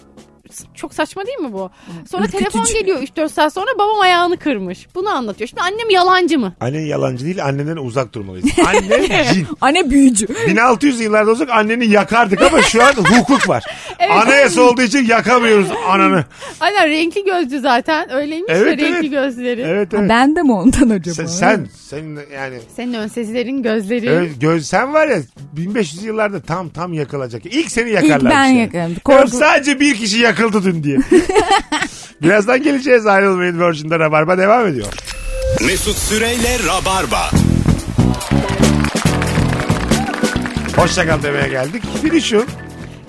s- çok saçma değil mi bu? Sonra telefon geliyor 3-4 saat sonra babam ayağını kırmış. Bunu anlatıyor. Şimdi annem yalancı mı? Annen yalancı değil annenden uzak durmalıyız. Anne cin. Anne büyücü. 1600 yıllarda olsak anneni yakardık ama şu an hukuk var. Anayasa olduğu için yakamıyoruz ananı. Aynen renkli gözlü zaten. Öyleymiş Evet, ya, renkli evet. gözleri. Evet Ha, evet. ben de mi ondan acaba? Sen, sen, senin yani Senin ön sezilerin gözleri. ö- göz sen var ya 1500 yıllarda tam tam yakılacak. İlk seni yakarlar. İlk ben yakarım. Korku... Korku. Sadece bir kişi yakıldı dün diye. Birazdan geleceğiz ayrılmayın Virgin'de Rabarba devam ediyor. Mesut Süreyle Rabarba. Hoşçakal demeye geldik. Finişim.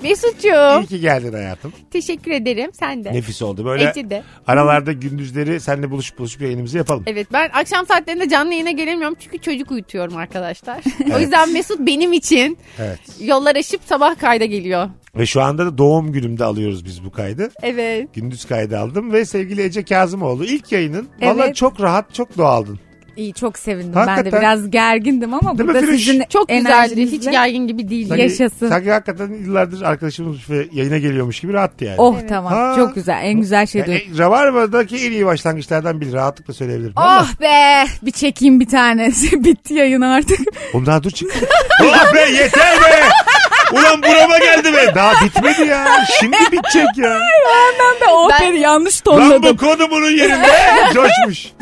Mesut'cuğum İyi ki geldin hayatım. teşekkür ederim. Sen de. Nefis oldu. Böyle Ece de. aralarda gündüzleri seninle buluşup buluşup yayınımızı yapalım. Evet ben akşam saatlerinde canlı yayına gelemiyorum çünkü çocuk uyutuyorum arkadaşlar. O yüzden Mesut benim için Evet. yollar aşıp sabah kayda geliyor. Ve şu anda da doğum günümde alıyoruz biz bu kaydı. Evet. Gündüz kaydı aldım ve sevgili Ece Kazımoğlu ilk yayının valla Evet. çok rahat çok doğaldın. İyi çok sevindim. Hakikaten. Ben de biraz gergindim ama Değil mi burada Firuş? sizin Çok güzeldi. Hiç enerjinizle- gergin gibi değil. Tabii. Yaş- Yaşasın. Sanki hakikaten yıllardır arkadaşımız ve yayına geliyormuş gibi rahattı yani. Oh tamam. Ha. Çok güzel. En güzel şey Yani, duydum. e, Rabarba'daki en iyi başlangıçlardan biri rahatlıkla söyleyebilirim. Valla. Oh be. Bir çekeyim bir tanesi. Bitti yayın artık. Oğlum daha dur çık. oh be yeter be. Ulan burama geldi be. Daha bitmedi ya. Şimdi bitecek ya. Ben de oh Ben- be yanlış Lan bu tonladım. konu bunun yerinde. Coşmuş.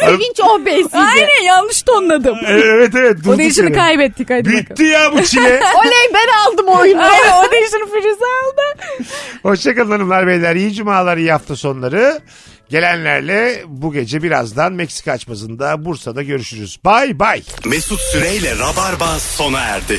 Sevinç o besiydi. Aynen yanlış tonladım. E, Evet evet. O durduk değişini yere. kaybettik hadi Bitti bakalım. ya bu çile. Oley ben aldım oyunu. Aynen o değişini Firuze aldı. Hoşçakalın hanımlar beyler. İyi cumalar, iyi hafta sonları. Gelenlerle bu gece birazdan Meksika açmasında Bursa'da görüşürüz. Bay bay. Mesut Süreyle Rabarba sona erdi.